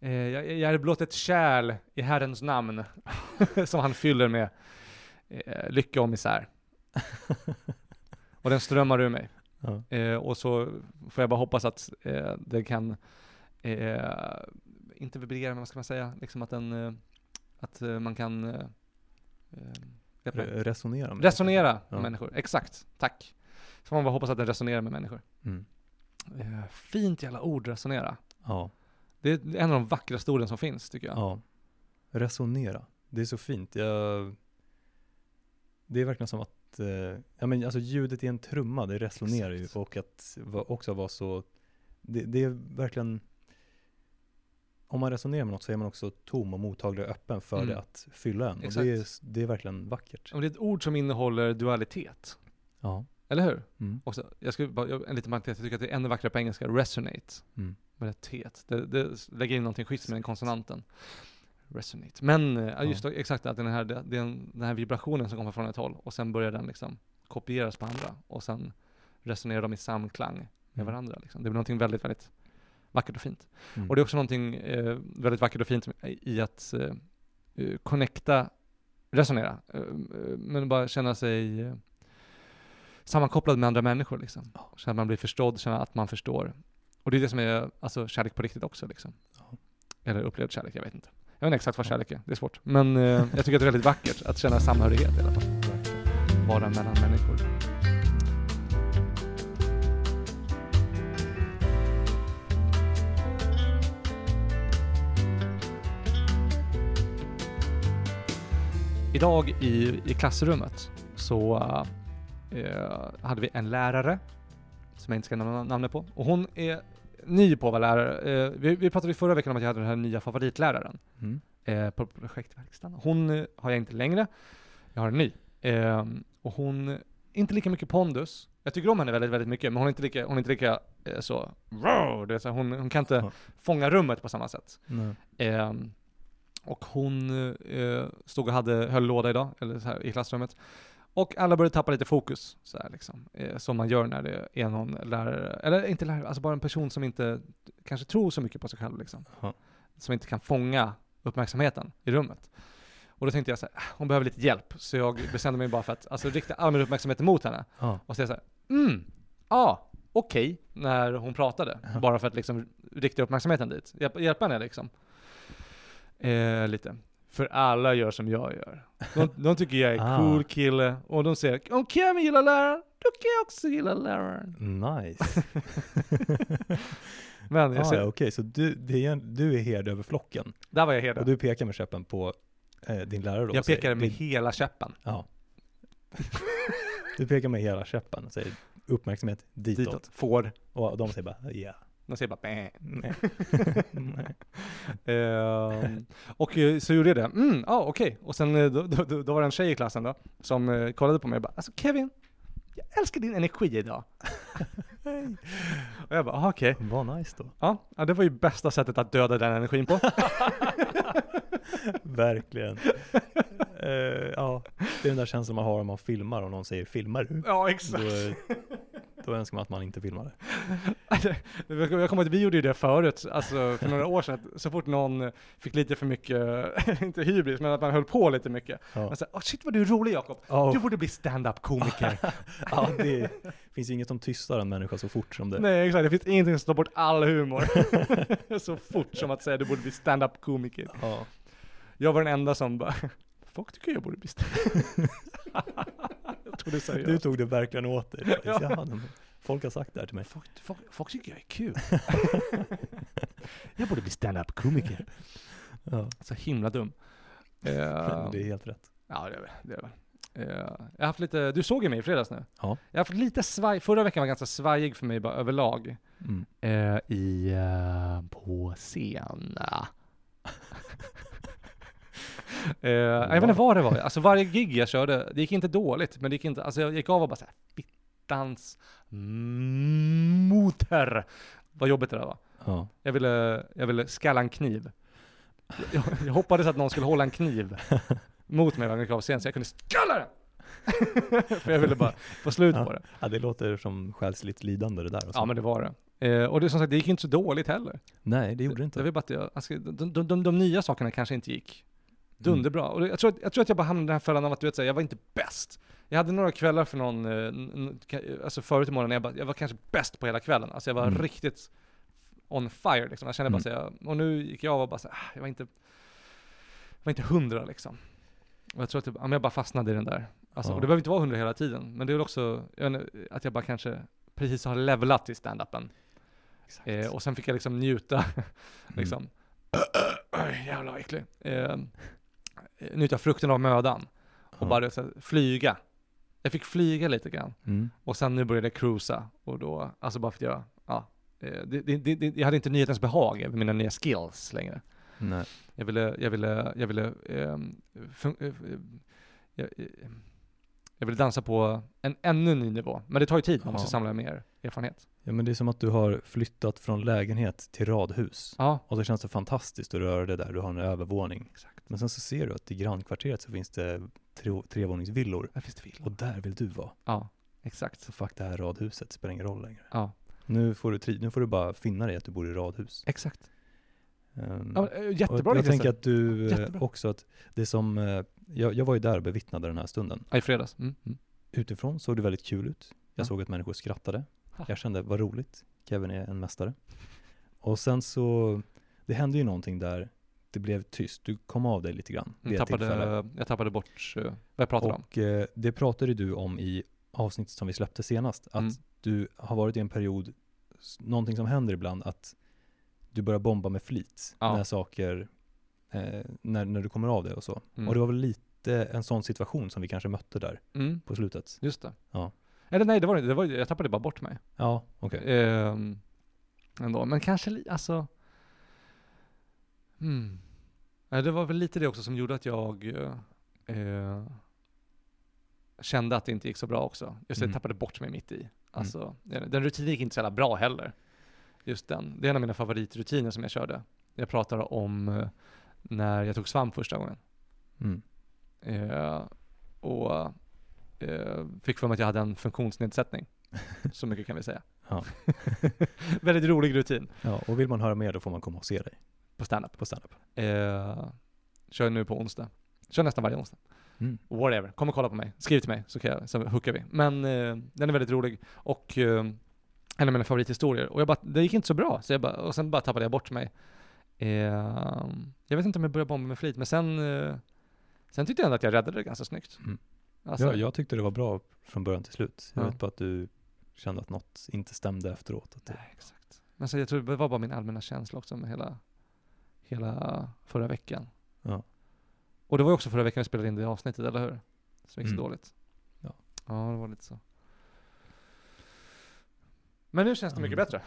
Speaker 2: eh, jag, jag är blott ett kärl i Herrens namn som han fyller med eh, lycka och misär. och den strömmar ur mig.
Speaker 1: Ja.
Speaker 2: Eh, och så får jag bara hoppas att eh, den kan, eh, inte vibrera, men vad ska man säga, liksom att den, eh, att eh, man kan eh, eh, hjälpa mig.
Speaker 1: Re- Resonera. med-
Speaker 2: Resonera med
Speaker 1: Ja.
Speaker 2: människor, exakt. Tack. Så får man bara hoppas att den resonerar med människor.
Speaker 1: Mm.
Speaker 2: Eh, Fint jävla ord, resonera.
Speaker 1: Ja.
Speaker 2: Det är en av de vackraste orden som finns tycker jag.
Speaker 1: Ja. Resonera. Det är så fint. Jag... Det är verkligen som att eh, ja, men alltså ljudet i en trumma, det resonerar
Speaker 2: Exakt.
Speaker 1: ju. Och att va- också vara så... Det, det är verkligen... Om man resonerar med något så är man också tom och mottaglig och öppen för
Speaker 2: Mm.
Speaker 1: det att fylla en. Och
Speaker 2: Exakt. Mm.
Speaker 1: det, är, s- det är verkligen vackert.
Speaker 2: Men Det är ett ord som innehåller dualitet,
Speaker 1: Ja.
Speaker 2: eller hur?
Speaker 1: Mm.
Speaker 2: Också, jag skulle bara, jag- en liten parentes, jag tycker att det är ännu vackrare på engelska, resonate.
Speaker 1: Mm.
Speaker 2: Med ett T. Det, det lägger in någonting schysst med den konsonanten. Resonate. Men eh, ja, just
Speaker 1: Ja.
Speaker 2: det, exakt att den här, det, det är en- den här vibrationen som kommer från ett håll och sen börjar den liksom kopieras på andra och sen resonerar de i samklang med
Speaker 1: Mm.
Speaker 2: varandra. Liksom. Det blir någonting väldigt, väldigt vackert och fint.
Speaker 1: Mm.
Speaker 2: Och det är också någonting eh, väldigt vackert och fint i att eh, eh, connecta, resonera, eh, eh, men bara känna sig eh, sammankopplad med andra människor. Liksom. Känna att man blir förstådd, känna att man förstår. Och det är det som är alltså, kärlek på riktigt också. Liksom.
Speaker 1: Ja.
Speaker 2: Eller upplevd kärlek, jag vet inte. Jag vet inte exakt vad kärlek är, det är svårt. Men eh, jag tycker att det är väldigt vackert att känna samhörighet i alla fall. Vara mellan människor. Idag i, i klassrummet så eh, hade vi en lärare som jag inte ska nämna namnet på. Och hon är ny på att vara lärare. Eh, vi, vi pratade ju förra veckan om att jag hade den här nya favoritläraren
Speaker 1: Mm.
Speaker 2: eh, på projektverkstan. Hon eh, har jag inte längre. Jag har en ny. Eh, och hon, är inte lika mycket pondus. Jag tycker om henne väldigt, väldigt mycket, men hon är inte lika, hon är inte lika eh, så, "Wow", det är så här, hon, hon kan inte
Speaker 1: Ja.
Speaker 2: fånga rummet på samma sätt.
Speaker 1: Nej.
Speaker 2: Eh, och hon eh, stod och hade, höll låda idag, eller så här, i klassrummet. Och alla började tappa lite fokus, så här, liksom. eh, som man gör när det är någon lärare, eller inte lärare, alltså bara en person som inte kanske tror så mycket på sig själv. Liksom.
Speaker 1: Ja.
Speaker 2: Som inte kan fånga uppmärksamheten i rummet. Och då tänkte jag så här, "Ah, hon behöver lite hjälp. Så jag bestämde mig bara för att alltså, rikta all min uppmärksamhet mot henne.
Speaker 1: Ja.
Speaker 2: Och säga så här, mm, ja, okej, när hon pratade.
Speaker 1: Ja.
Speaker 2: Bara för att liksom rikta uppmärksamheten dit. Hjälp, hjälpa henne liksom. Eh, lite. För alla gör som jag gör. De, de tycker jag är
Speaker 1: Ah.
Speaker 2: cool kille och de säger om Kevin gillar läraren, då kan jag också gilla läraren.
Speaker 1: Nice.
Speaker 2: Men jag
Speaker 1: ah,
Speaker 2: ser,
Speaker 1: ja, Okej, så du, det är, en- du är herde över flocken
Speaker 2: där var jag
Speaker 1: och
Speaker 2: hedrad.
Speaker 1: du pekar med käppen på eh, din lärare då? och
Speaker 2: Jag
Speaker 1: säger,
Speaker 2: pekade med
Speaker 1: "Din-
Speaker 2: hela käppen.
Speaker 1: Ja. Du pekar med hela käppen och säger uppmärksamhet ditåt.
Speaker 2: Ditåt. Får.
Speaker 1: Och de säger bara ja.
Speaker 2: De säger bara "Bäh."
Speaker 1: Nej. Nej.
Speaker 2: Ehm, Och eh, så gjorde jag det. Mm, ja okej. Och sen eh, då, då, då, då var det en tjej i klassen då, som eh, kollade på mig och bara alltså Kevin, jag älskar din energi idag. och jag bara, "Ah, okej.
Speaker 1: Vad nice då.
Speaker 2: Ja, ja, det var ju bästa sättet att döda den energin på.
Speaker 1: Verkligen. Eh, ja, det är den där känslan man har om man filmar och någon säger filmar du?
Speaker 2: ja,
Speaker 1: Då,
Speaker 2: exakt.
Speaker 1: då önskar man att man inte filmade.
Speaker 2: Jag kommer ihåg att vi gjorde ju det förut, alltså för några år sedan, att så fort någon fick lite för mycket, inte hybris, men att man höll på lite mycket.
Speaker 1: Ja,
Speaker 2: Man sa, oh, shit vad du är rolig Jakob,
Speaker 1: Ja,
Speaker 2: du borde bli stand-up-komiker.
Speaker 1: ja, det finns ju inget som tystar en människa så fort som det.
Speaker 2: Nej exakt, det finns ingenting som tar bort all humor. så fort som att säga du borde bli stand-up-komiker.
Speaker 1: Ja.
Speaker 2: Jag var den enda som bara, folk tycker jag borde bli stand-up. jag tog det seriöst.
Speaker 1: Du tog det verkligen åt dig. faktiskt.
Speaker 2: Ja.
Speaker 1: Jaha, de- folk har sagt det här till mig.
Speaker 2: folk, folk, folk tycker jag är kul. jag borde bli stand-up-komiker.
Speaker 1: Ja.
Speaker 2: Så himla dum. Eh,
Speaker 1: Det är helt rätt.
Speaker 2: Ja, det är väl- det. Är väl. Eh, jag har haft lite, du såg ju mig i fredags nu.
Speaker 1: Ja.
Speaker 2: Jag har haft lite svaj, förra veckan var ganska svajig för mig bara överlag.
Speaker 1: Mm.
Speaker 2: eh, i, eh, på scen. eh, jag vet inte vad det var. Alltså varje gig jag körde, det gick inte dåligt, men det gick inte, alltså jag gick av och bara såhär, fittans motor. Vad jobbigt det där var.
Speaker 1: Ja.
Speaker 2: Jag ville, jag ville skalla en kniv. Jag, jag hoppades att någon skulle hålla en kniv mot mig när jag gick av scen, så jag kunde skalla den! För jag ville bara få slut på det.
Speaker 1: Ja, det låter som själsligt lidande det där. Alltså.
Speaker 2: Ja men det var det. Eh, och det, som sagt, det gick inte så dåligt heller.
Speaker 1: Nej, det gjorde det
Speaker 2: Det
Speaker 1: inte.
Speaker 2: var bara att jag, alltså, de, de, de, de nya sakerna kanske inte gick
Speaker 1: Mm.
Speaker 2: dunderbra. Och det- jag, tror att, jag tror att jag bara hamnade i den här fällan av att du vet, så här, jag var inte bäst. Jag hade några kvällar för någon, eh, n- n- ka- alltså förut i morgon, jag, bara, jag var kanske bäst på hela kvällen. Alltså jag var
Speaker 1: Mm.
Speaker 2: riktigt on fire liksom. Jag kände bara
Speaker 1: Mm.
Speaker 2: så här, och nu gick jag av och bara så här, ah, jag var inte, jag var inte hundra liksom. Och jag tror att jag, ja, men jag bara fastnade i den där. Alltså,
Speaker 1: Ja.
Speaker 2: Och det behöver inte vara hundra hela tiden, men det är väl också, jag vet inte, att jag bara kanske precis har levlat i stand-upen.
Speaker 1: Exakt.
Speaker 2: Eh, och sen fick jag liksom njuta, liksom.
Speaker 1: Mm.
Speaker 2: Oj, jävlar vad äcklig. Eh, njuta frukten av mödan. Och
Speaker 1: Ja.
Speaker 2: bara så här, flyga. Jag fick flyga lite grann.
Speaker 1: Mm.
Speaker 2: Och sen nu började jag cruisa. Och då, alltså bara för att jag, ja. eh, Det, det, det, det, jag hade inte nyhetens behag över mina nya skills längre.
Speaker 1: Nej.
Speaker 2: Jag ville, jag ville, jag ville, ehm, fun- eh, eh, jag, eh, jag ville dansa på en ännu ny nivå. Men det tar ju tid, man måste
Speaker 1: Ja.
Speaker 2: samla mer erfarenhet.
Speaker 1: Ja, men det är som att du har flyttat från lägenhet till radhus.
Speaker 2: Ja,
Speaker 1: Och så känns det fantastiskt att röra dig där, du har en övervåning.
Speaker 2: exakt.
Speaker 1: Men sen så ser du att i grannkvarteret så finns det tre, trevåningsvillor.
Speaker 2: Där finns det villor.
Speaker 1: Och där vill du vara.
Speaker 2: Ja, exakt.
Speaker 1: Så fuck det här radhuset, spelar ingen roll längre.
Speaker 2: Ja,
Speaker 1: Nu får du, tri- nu får du bara finna dig att du bor i radhus.
Speaker 2: exakt.
Speaker 1: Ehm,
Speaker 2: Ja, men, eh,
Speaker 1: och
Speaker 2: jättebra
Speaker 1: jag
Speaker 2: liknelse.
Speaker 1: tänker att du eh,
Speaker 2: Jättebra.
Speaker 1: också att det som, eh, jag, jag var ju där och bevittnade den här stunden.
Speaker 2: Ja, i fredags. Mm. Mm.
Speaker 1: Utifrån såg det väldigt kul ut. Jag
Speaker 2: Ja.
Speaker 1: såg att människor skrattade.
Speaker 2: Ha.
Speaker 1: Jag kände, vad roligt. Kevin är en mästare. Och sen så, det hände ju någonting där. Det blev tyst. Du kom av dig lite grann. vid
Speaker 2: Jag,
Speaker 1: ett tillfälle.
Speaker 2: Mm, tappade, jag tappade bort eh, vad jag pratade om.
Speaker 1: Och eh, det pratade du om i avsnittet som vi släppte senast. Att
Speaker 2: Mm.
Speaker 1: du har varit i en period, s- någonting som händer ibland, att du börjar bomba med flit.
Speaker 2: Ja.
Speaker 1: När saker, eh, när, när du kommer av det och så.
Speaker 2: Mm.
Speaker 1: Och det var väl lite lite en sån situation som vi kanske mötte där
Speaker 2: Mm,
Speaker 1: på slutet.
Speaker 2: just det.
Speaker 1: Ja.
Speaker 2: Eller nej, det var det inte. Det var, jag tappade bara bort mig.
Speaker 1: Ja, okej.
Speaker 2: Ehm, ändå. Men kanske, li- alltså... Mm. Ja, Det var väl lite det också som gjorde att jag eh, eh, kände att det inte gick så bra också. Just det,
Speaker 1: Mm.
Speaker 2: jag tappade bort mig mitt i. Alltså, den- Den rutinen gick inte så jävla bra heller. Just den. Det är en av mina favoritrutiner som jag körde. Jag pratar om eh, när jag tog svamp första gången.
Speaker 1: Mm.
Speaker 2: Eh, och eh, fick för mig att jag hade en funktionsnedsättning. Så mycket kan vi säga.
Speaker 1: Ja.
Speaker 2: Väldigt rolig rutin
Speaker 1: Ja, och vill man höra mer då får man komma och se dig
Speaker 2: på standup.
Speaker 1: på standup.
Speaker 2: Eh, kör nu på onsdag. Kör nästan varje onsdag.
Speaker 1: Mm.
Speaker 2: Whatever. Kom och kolla på mig. Skriv till mig så, kan jag, så hookar vi. Men eh, den är väldigt rolig och eh, en av mina favorithistorier. Och jag bara, det gick inte så bra. Så jag bara, och sen bara tappade jag bort mig. Eh, jag vet inte om jag började bomba med flit, men sen, eh, sen tyckte jag ändå att jag räddade det ganska snyggt.
Speaker 1: Mm.
Speaker 2: Alltså,
Speaker 1: ja, jag tyckte det var bra från början till slut. Jag
Speaker 2: Ja.
Speaker 1: vet bara att du kände att något inte stämde efteråt. Att det,
Speaker 2: Nej, exakt. Men så jag tror det var bara min allmänna känsla också med hela, hela förra veckan.
Speaker 1: Ja.
Speaker 2: Och det var ju också förra veckan vi spelade in det avsnittet, eller hur? Som gick så
Speaker 1: Mm.
Speaker 2: dåligt.
Speaker 1: Ja.
Speaker 2: Ja, det var lite så. Men nu känns det mycket
Speaker 1: Mm.
Speaker 2: bättre.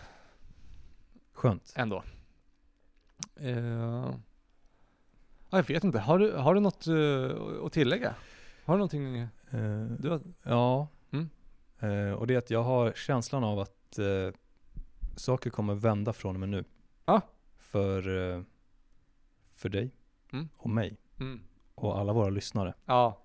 Speaker 1: skönt.
Speaker 2: Ändå. Eh, ja, jag vet inte. Har du, har du något eh, att tillägga? Har du någonting?
Speaker 1: Eh,
Speaker 2: Du har,
Speaker 1: Ja.
Speaker 2: Mm.
Speaker 1: Eh, och det är att jag har känslan av att eh, saker kommer vända från och med nu.
Speaker 2: Ja.
Speaker 1: För, eh, för dig
Speaker 2: Mm.
Speaker 1: och mig
Speaker 2: mm.
Speaker 1: och alla våra lyssnare.
Speaker 2: Ja,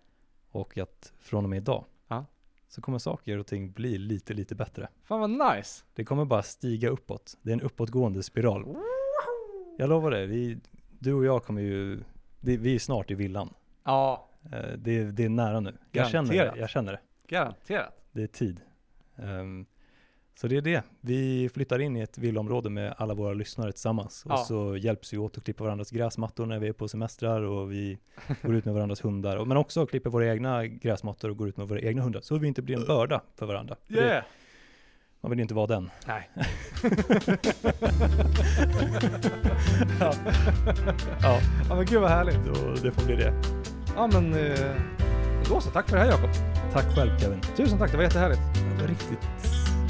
Speaker 1: Och att från och med idag
Speaker 2: Ja.
Speaker 1: så kommer saker och ting bli lite, lite bättre.
Speaker 2: fan vad nice.
Speaker 1: Det kommer bara stiga uppåt. Det är en uppåtgående spiral. Jag lovar dig, vi, du och jag kommer ju, det, vi är snart i villan.
Speaker 2: Ja,
Speaker 1: Eh, det, det är nära nu. Jag känner det,
Speaker 2: Garanterat.
Speaker 1: jag känner det.
Speaker 2: garanterat.
Speaker 1: Det är tid. Ehm, så det är det. Vi flyttar in i ett villaområde med alla våra lyssnare tillsammans.
Speaker 2: Ja.
Speaker 1: Och så hjälps vi åt att klippa varandras gräsmattor när vi är på semestrar och vi går ut med varandras hundar. Och- Men också klipper våra egna gräsmattor och går ut med våra egna hundar. Så vi inte blir en börda för varandra. För det-
Speaker 2: Yeah!
Speaker 1: Man vill ju inte vara den.
Speaker 2: Nej.
Speaker 1: ja. ja,
Speaker 2: Ja men gud vad härligt.
Speaker 1: då, det får bli det.
Speaker 2: Ja men eh, då så, tack för det här Jakob.
Speaker 1: Tack själv Kevin.
Speaker 2: Tusen tack, det var jättehärligt.
Speaker 1: Det var riktigt,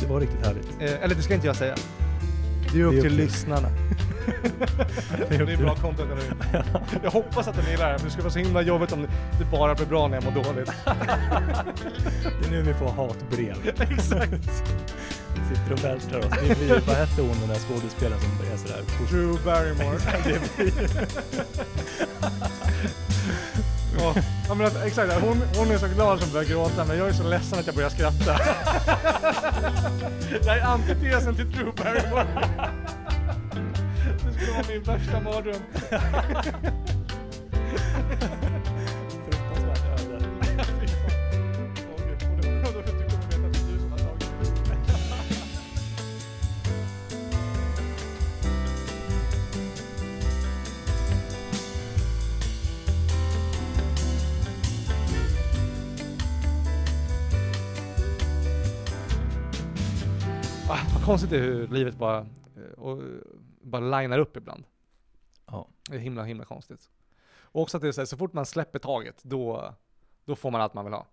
Speaker 1: det var riktigt härligt.
Speaker 2: Eh, eller det ska inte jag säga. Det är upp
Speaker 1: Det är
Speaker 2: till
Speaker 1: upp till-
Speaker 2: lyssnarna. det är bra content eller hur? Jag hoppas att ni gillar det här, för det skulle vara så himla jobbigt om det bara blir bra när jag mår dåligt.
Speaker 1: Det är nu vi får hatbrev. Exakt. Sitter och vältrar oss. Det blir, vad hette hon den där skådespelaren som är sådär?
Speaker 2: Drew Barrymore. Ja, ja, men att, exakt, hon, hon är så glad som börjar gråta, men jag är så ledsen att jag börjar skratta. det här är antitesen till Drew Barrymore. det skulle vara min värsta mardröm.
Speaker 1: Fruktansvärt öde.
Speaker 2: Åh, gud, och då- och då- du kommer veta att det är du som har tagit det. Ah, vad konstigt det är hur livet bara, eh, och, eh, bara linar upp ibland.
Speaker 1: Ja.
Speaker 2: Det är himla, himla konstigt. Och också att det är så, här, så fort man släpper taget, då, då får man allt man vill ha.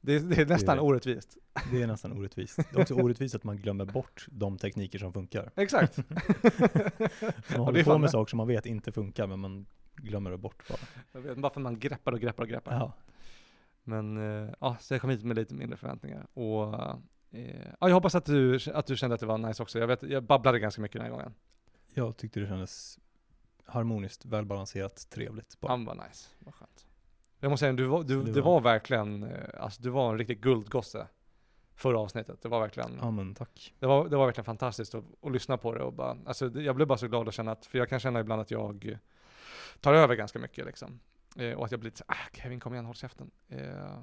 Speaker 2: Det, det är nästan
Speaker 1: det.
Speaker 2: orättvist.
Speaker 1: Det är nästan orättvist. Det är också orättvist att man glömmer bort de tekniker som funkar.
Speaker 2: Exakt.
Speaker 1: Man
Speaker 2: det är
Speaker 1: håller på
Speaker 2: fan
Speaker 1: med
Speaker 2: det.
Speaker 1: saker som man vet inte funkar, men man glömmer det bort bara.
Speaker 2: Jag vet, bara för man greppar och greppar och greppar.
Speaker 1: Ja.
Speaker 2: Men eh, ja, så jag kom hit med lite mindre förväntningar. Och eh, ja, jag hoppas att du, att du kände att det var nice också. Jag, vet, jag babblade ganska mycket den här gången.
Speaker 1: Jag tyckte det kändes harmoniskt, välbalanserat, trevligt. Bara.
Speaker 2: Han var nice. Vad skönt. Jag måste säga, du var, du,
Speaker 1: Det
Speaker 2: det
Speaker 1: var-
Speaker 2: var verkligen, eh, alltså du var en riktig guldgosse förra avsnittet. Det var verkligen,
Speaker 1: Ja, men tack.
Speaker 2: det var, det var verkligen fantastiskt att, att lyssna på det och bara, alltså det- jag blev bara så glad att känna att, för jag kan känna ibland att jag tar över ganska mycket liksom. Eh, och att jag blir lite så här, ah, Kevin kom igen, håll käften. Eh,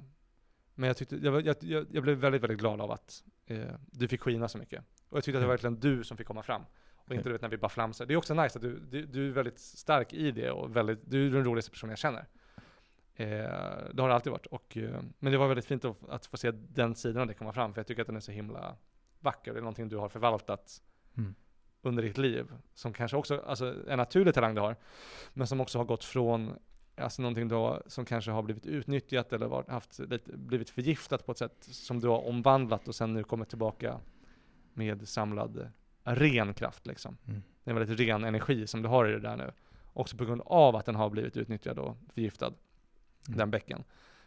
Speaker 2: men jag tyckte, jag, var- jag, jag, jag blev väldigt, väldigt glad av att eh, du fick skina så mycket. Och jag tyckte att det var
Speaker 1: Mm.
Speaker 2: verkligen du som fick komma fram. Och inte du vet när vi bara flamsar. Det är också nice att du, du, du är väldigt stark i det och väldigt, du är den roligaste personen jag känner. Eh, det har det alltid varit. Och, eh, men det var väldigt fint att, att få se den sidan av det komma fram, för jag tycker att den är så himla vacker. Det är någonting du har förvaltat
Speaker 1: Mm.
Speaker 2: under ditt liv, som kanske också, alltså en naturlig talang du har, men som också har gått från alltså någonting du har, som kanske har blivit utnyttjat eller varit, haft lite, blivit förgiftat på ett sätt som du har omvandlat och sen nu kommer tillbaka med samlad eh, ren kraft liksom.
Speaker 1: Mm.
Speaker 2: Det är en väldigt ren energi som du har i det där nu. Också på grund av att den har blivit utnyttjad och förgiftad,
Speaker 1: Mm.
Speaker 2: den bäcken.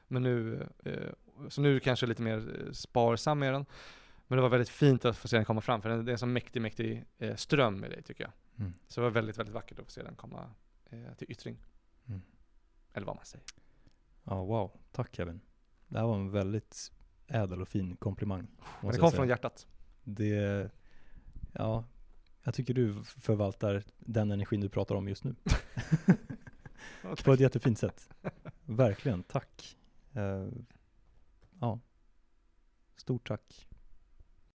Speaker 2: Men nu, eh, så nu kanske lite mer eh, sparsam med den. Men det var väldigt fint att få se den komma fram, för den, det är en sån mäktig, mäktig eh, ström i dig tycker jag.
Speaker 1: Mm.
Speaker 2: Så det var väldigt, väldigt vackert att få se den komma eh, till yttring.
Speaker 1: Mm.
Speaker 2: Eller vad man säger.
Speaker 1: Ja, wow. Tack Kevin. Det här var en väldigt ädel och fin komplimang.
Speaker 2: Men
Speaker 1: måste
Speaker 2: det
Speaker 1: jag
Speaker 2: kom
Speaker 1: säga.
Speaker 2: från hjärtat.
Speaker 1: Det, ja, jag tycker du förvaltar den energin du pratar om just nu. På ett jättefint sätt. Verkligen, tack. Eh, ja, stort tack.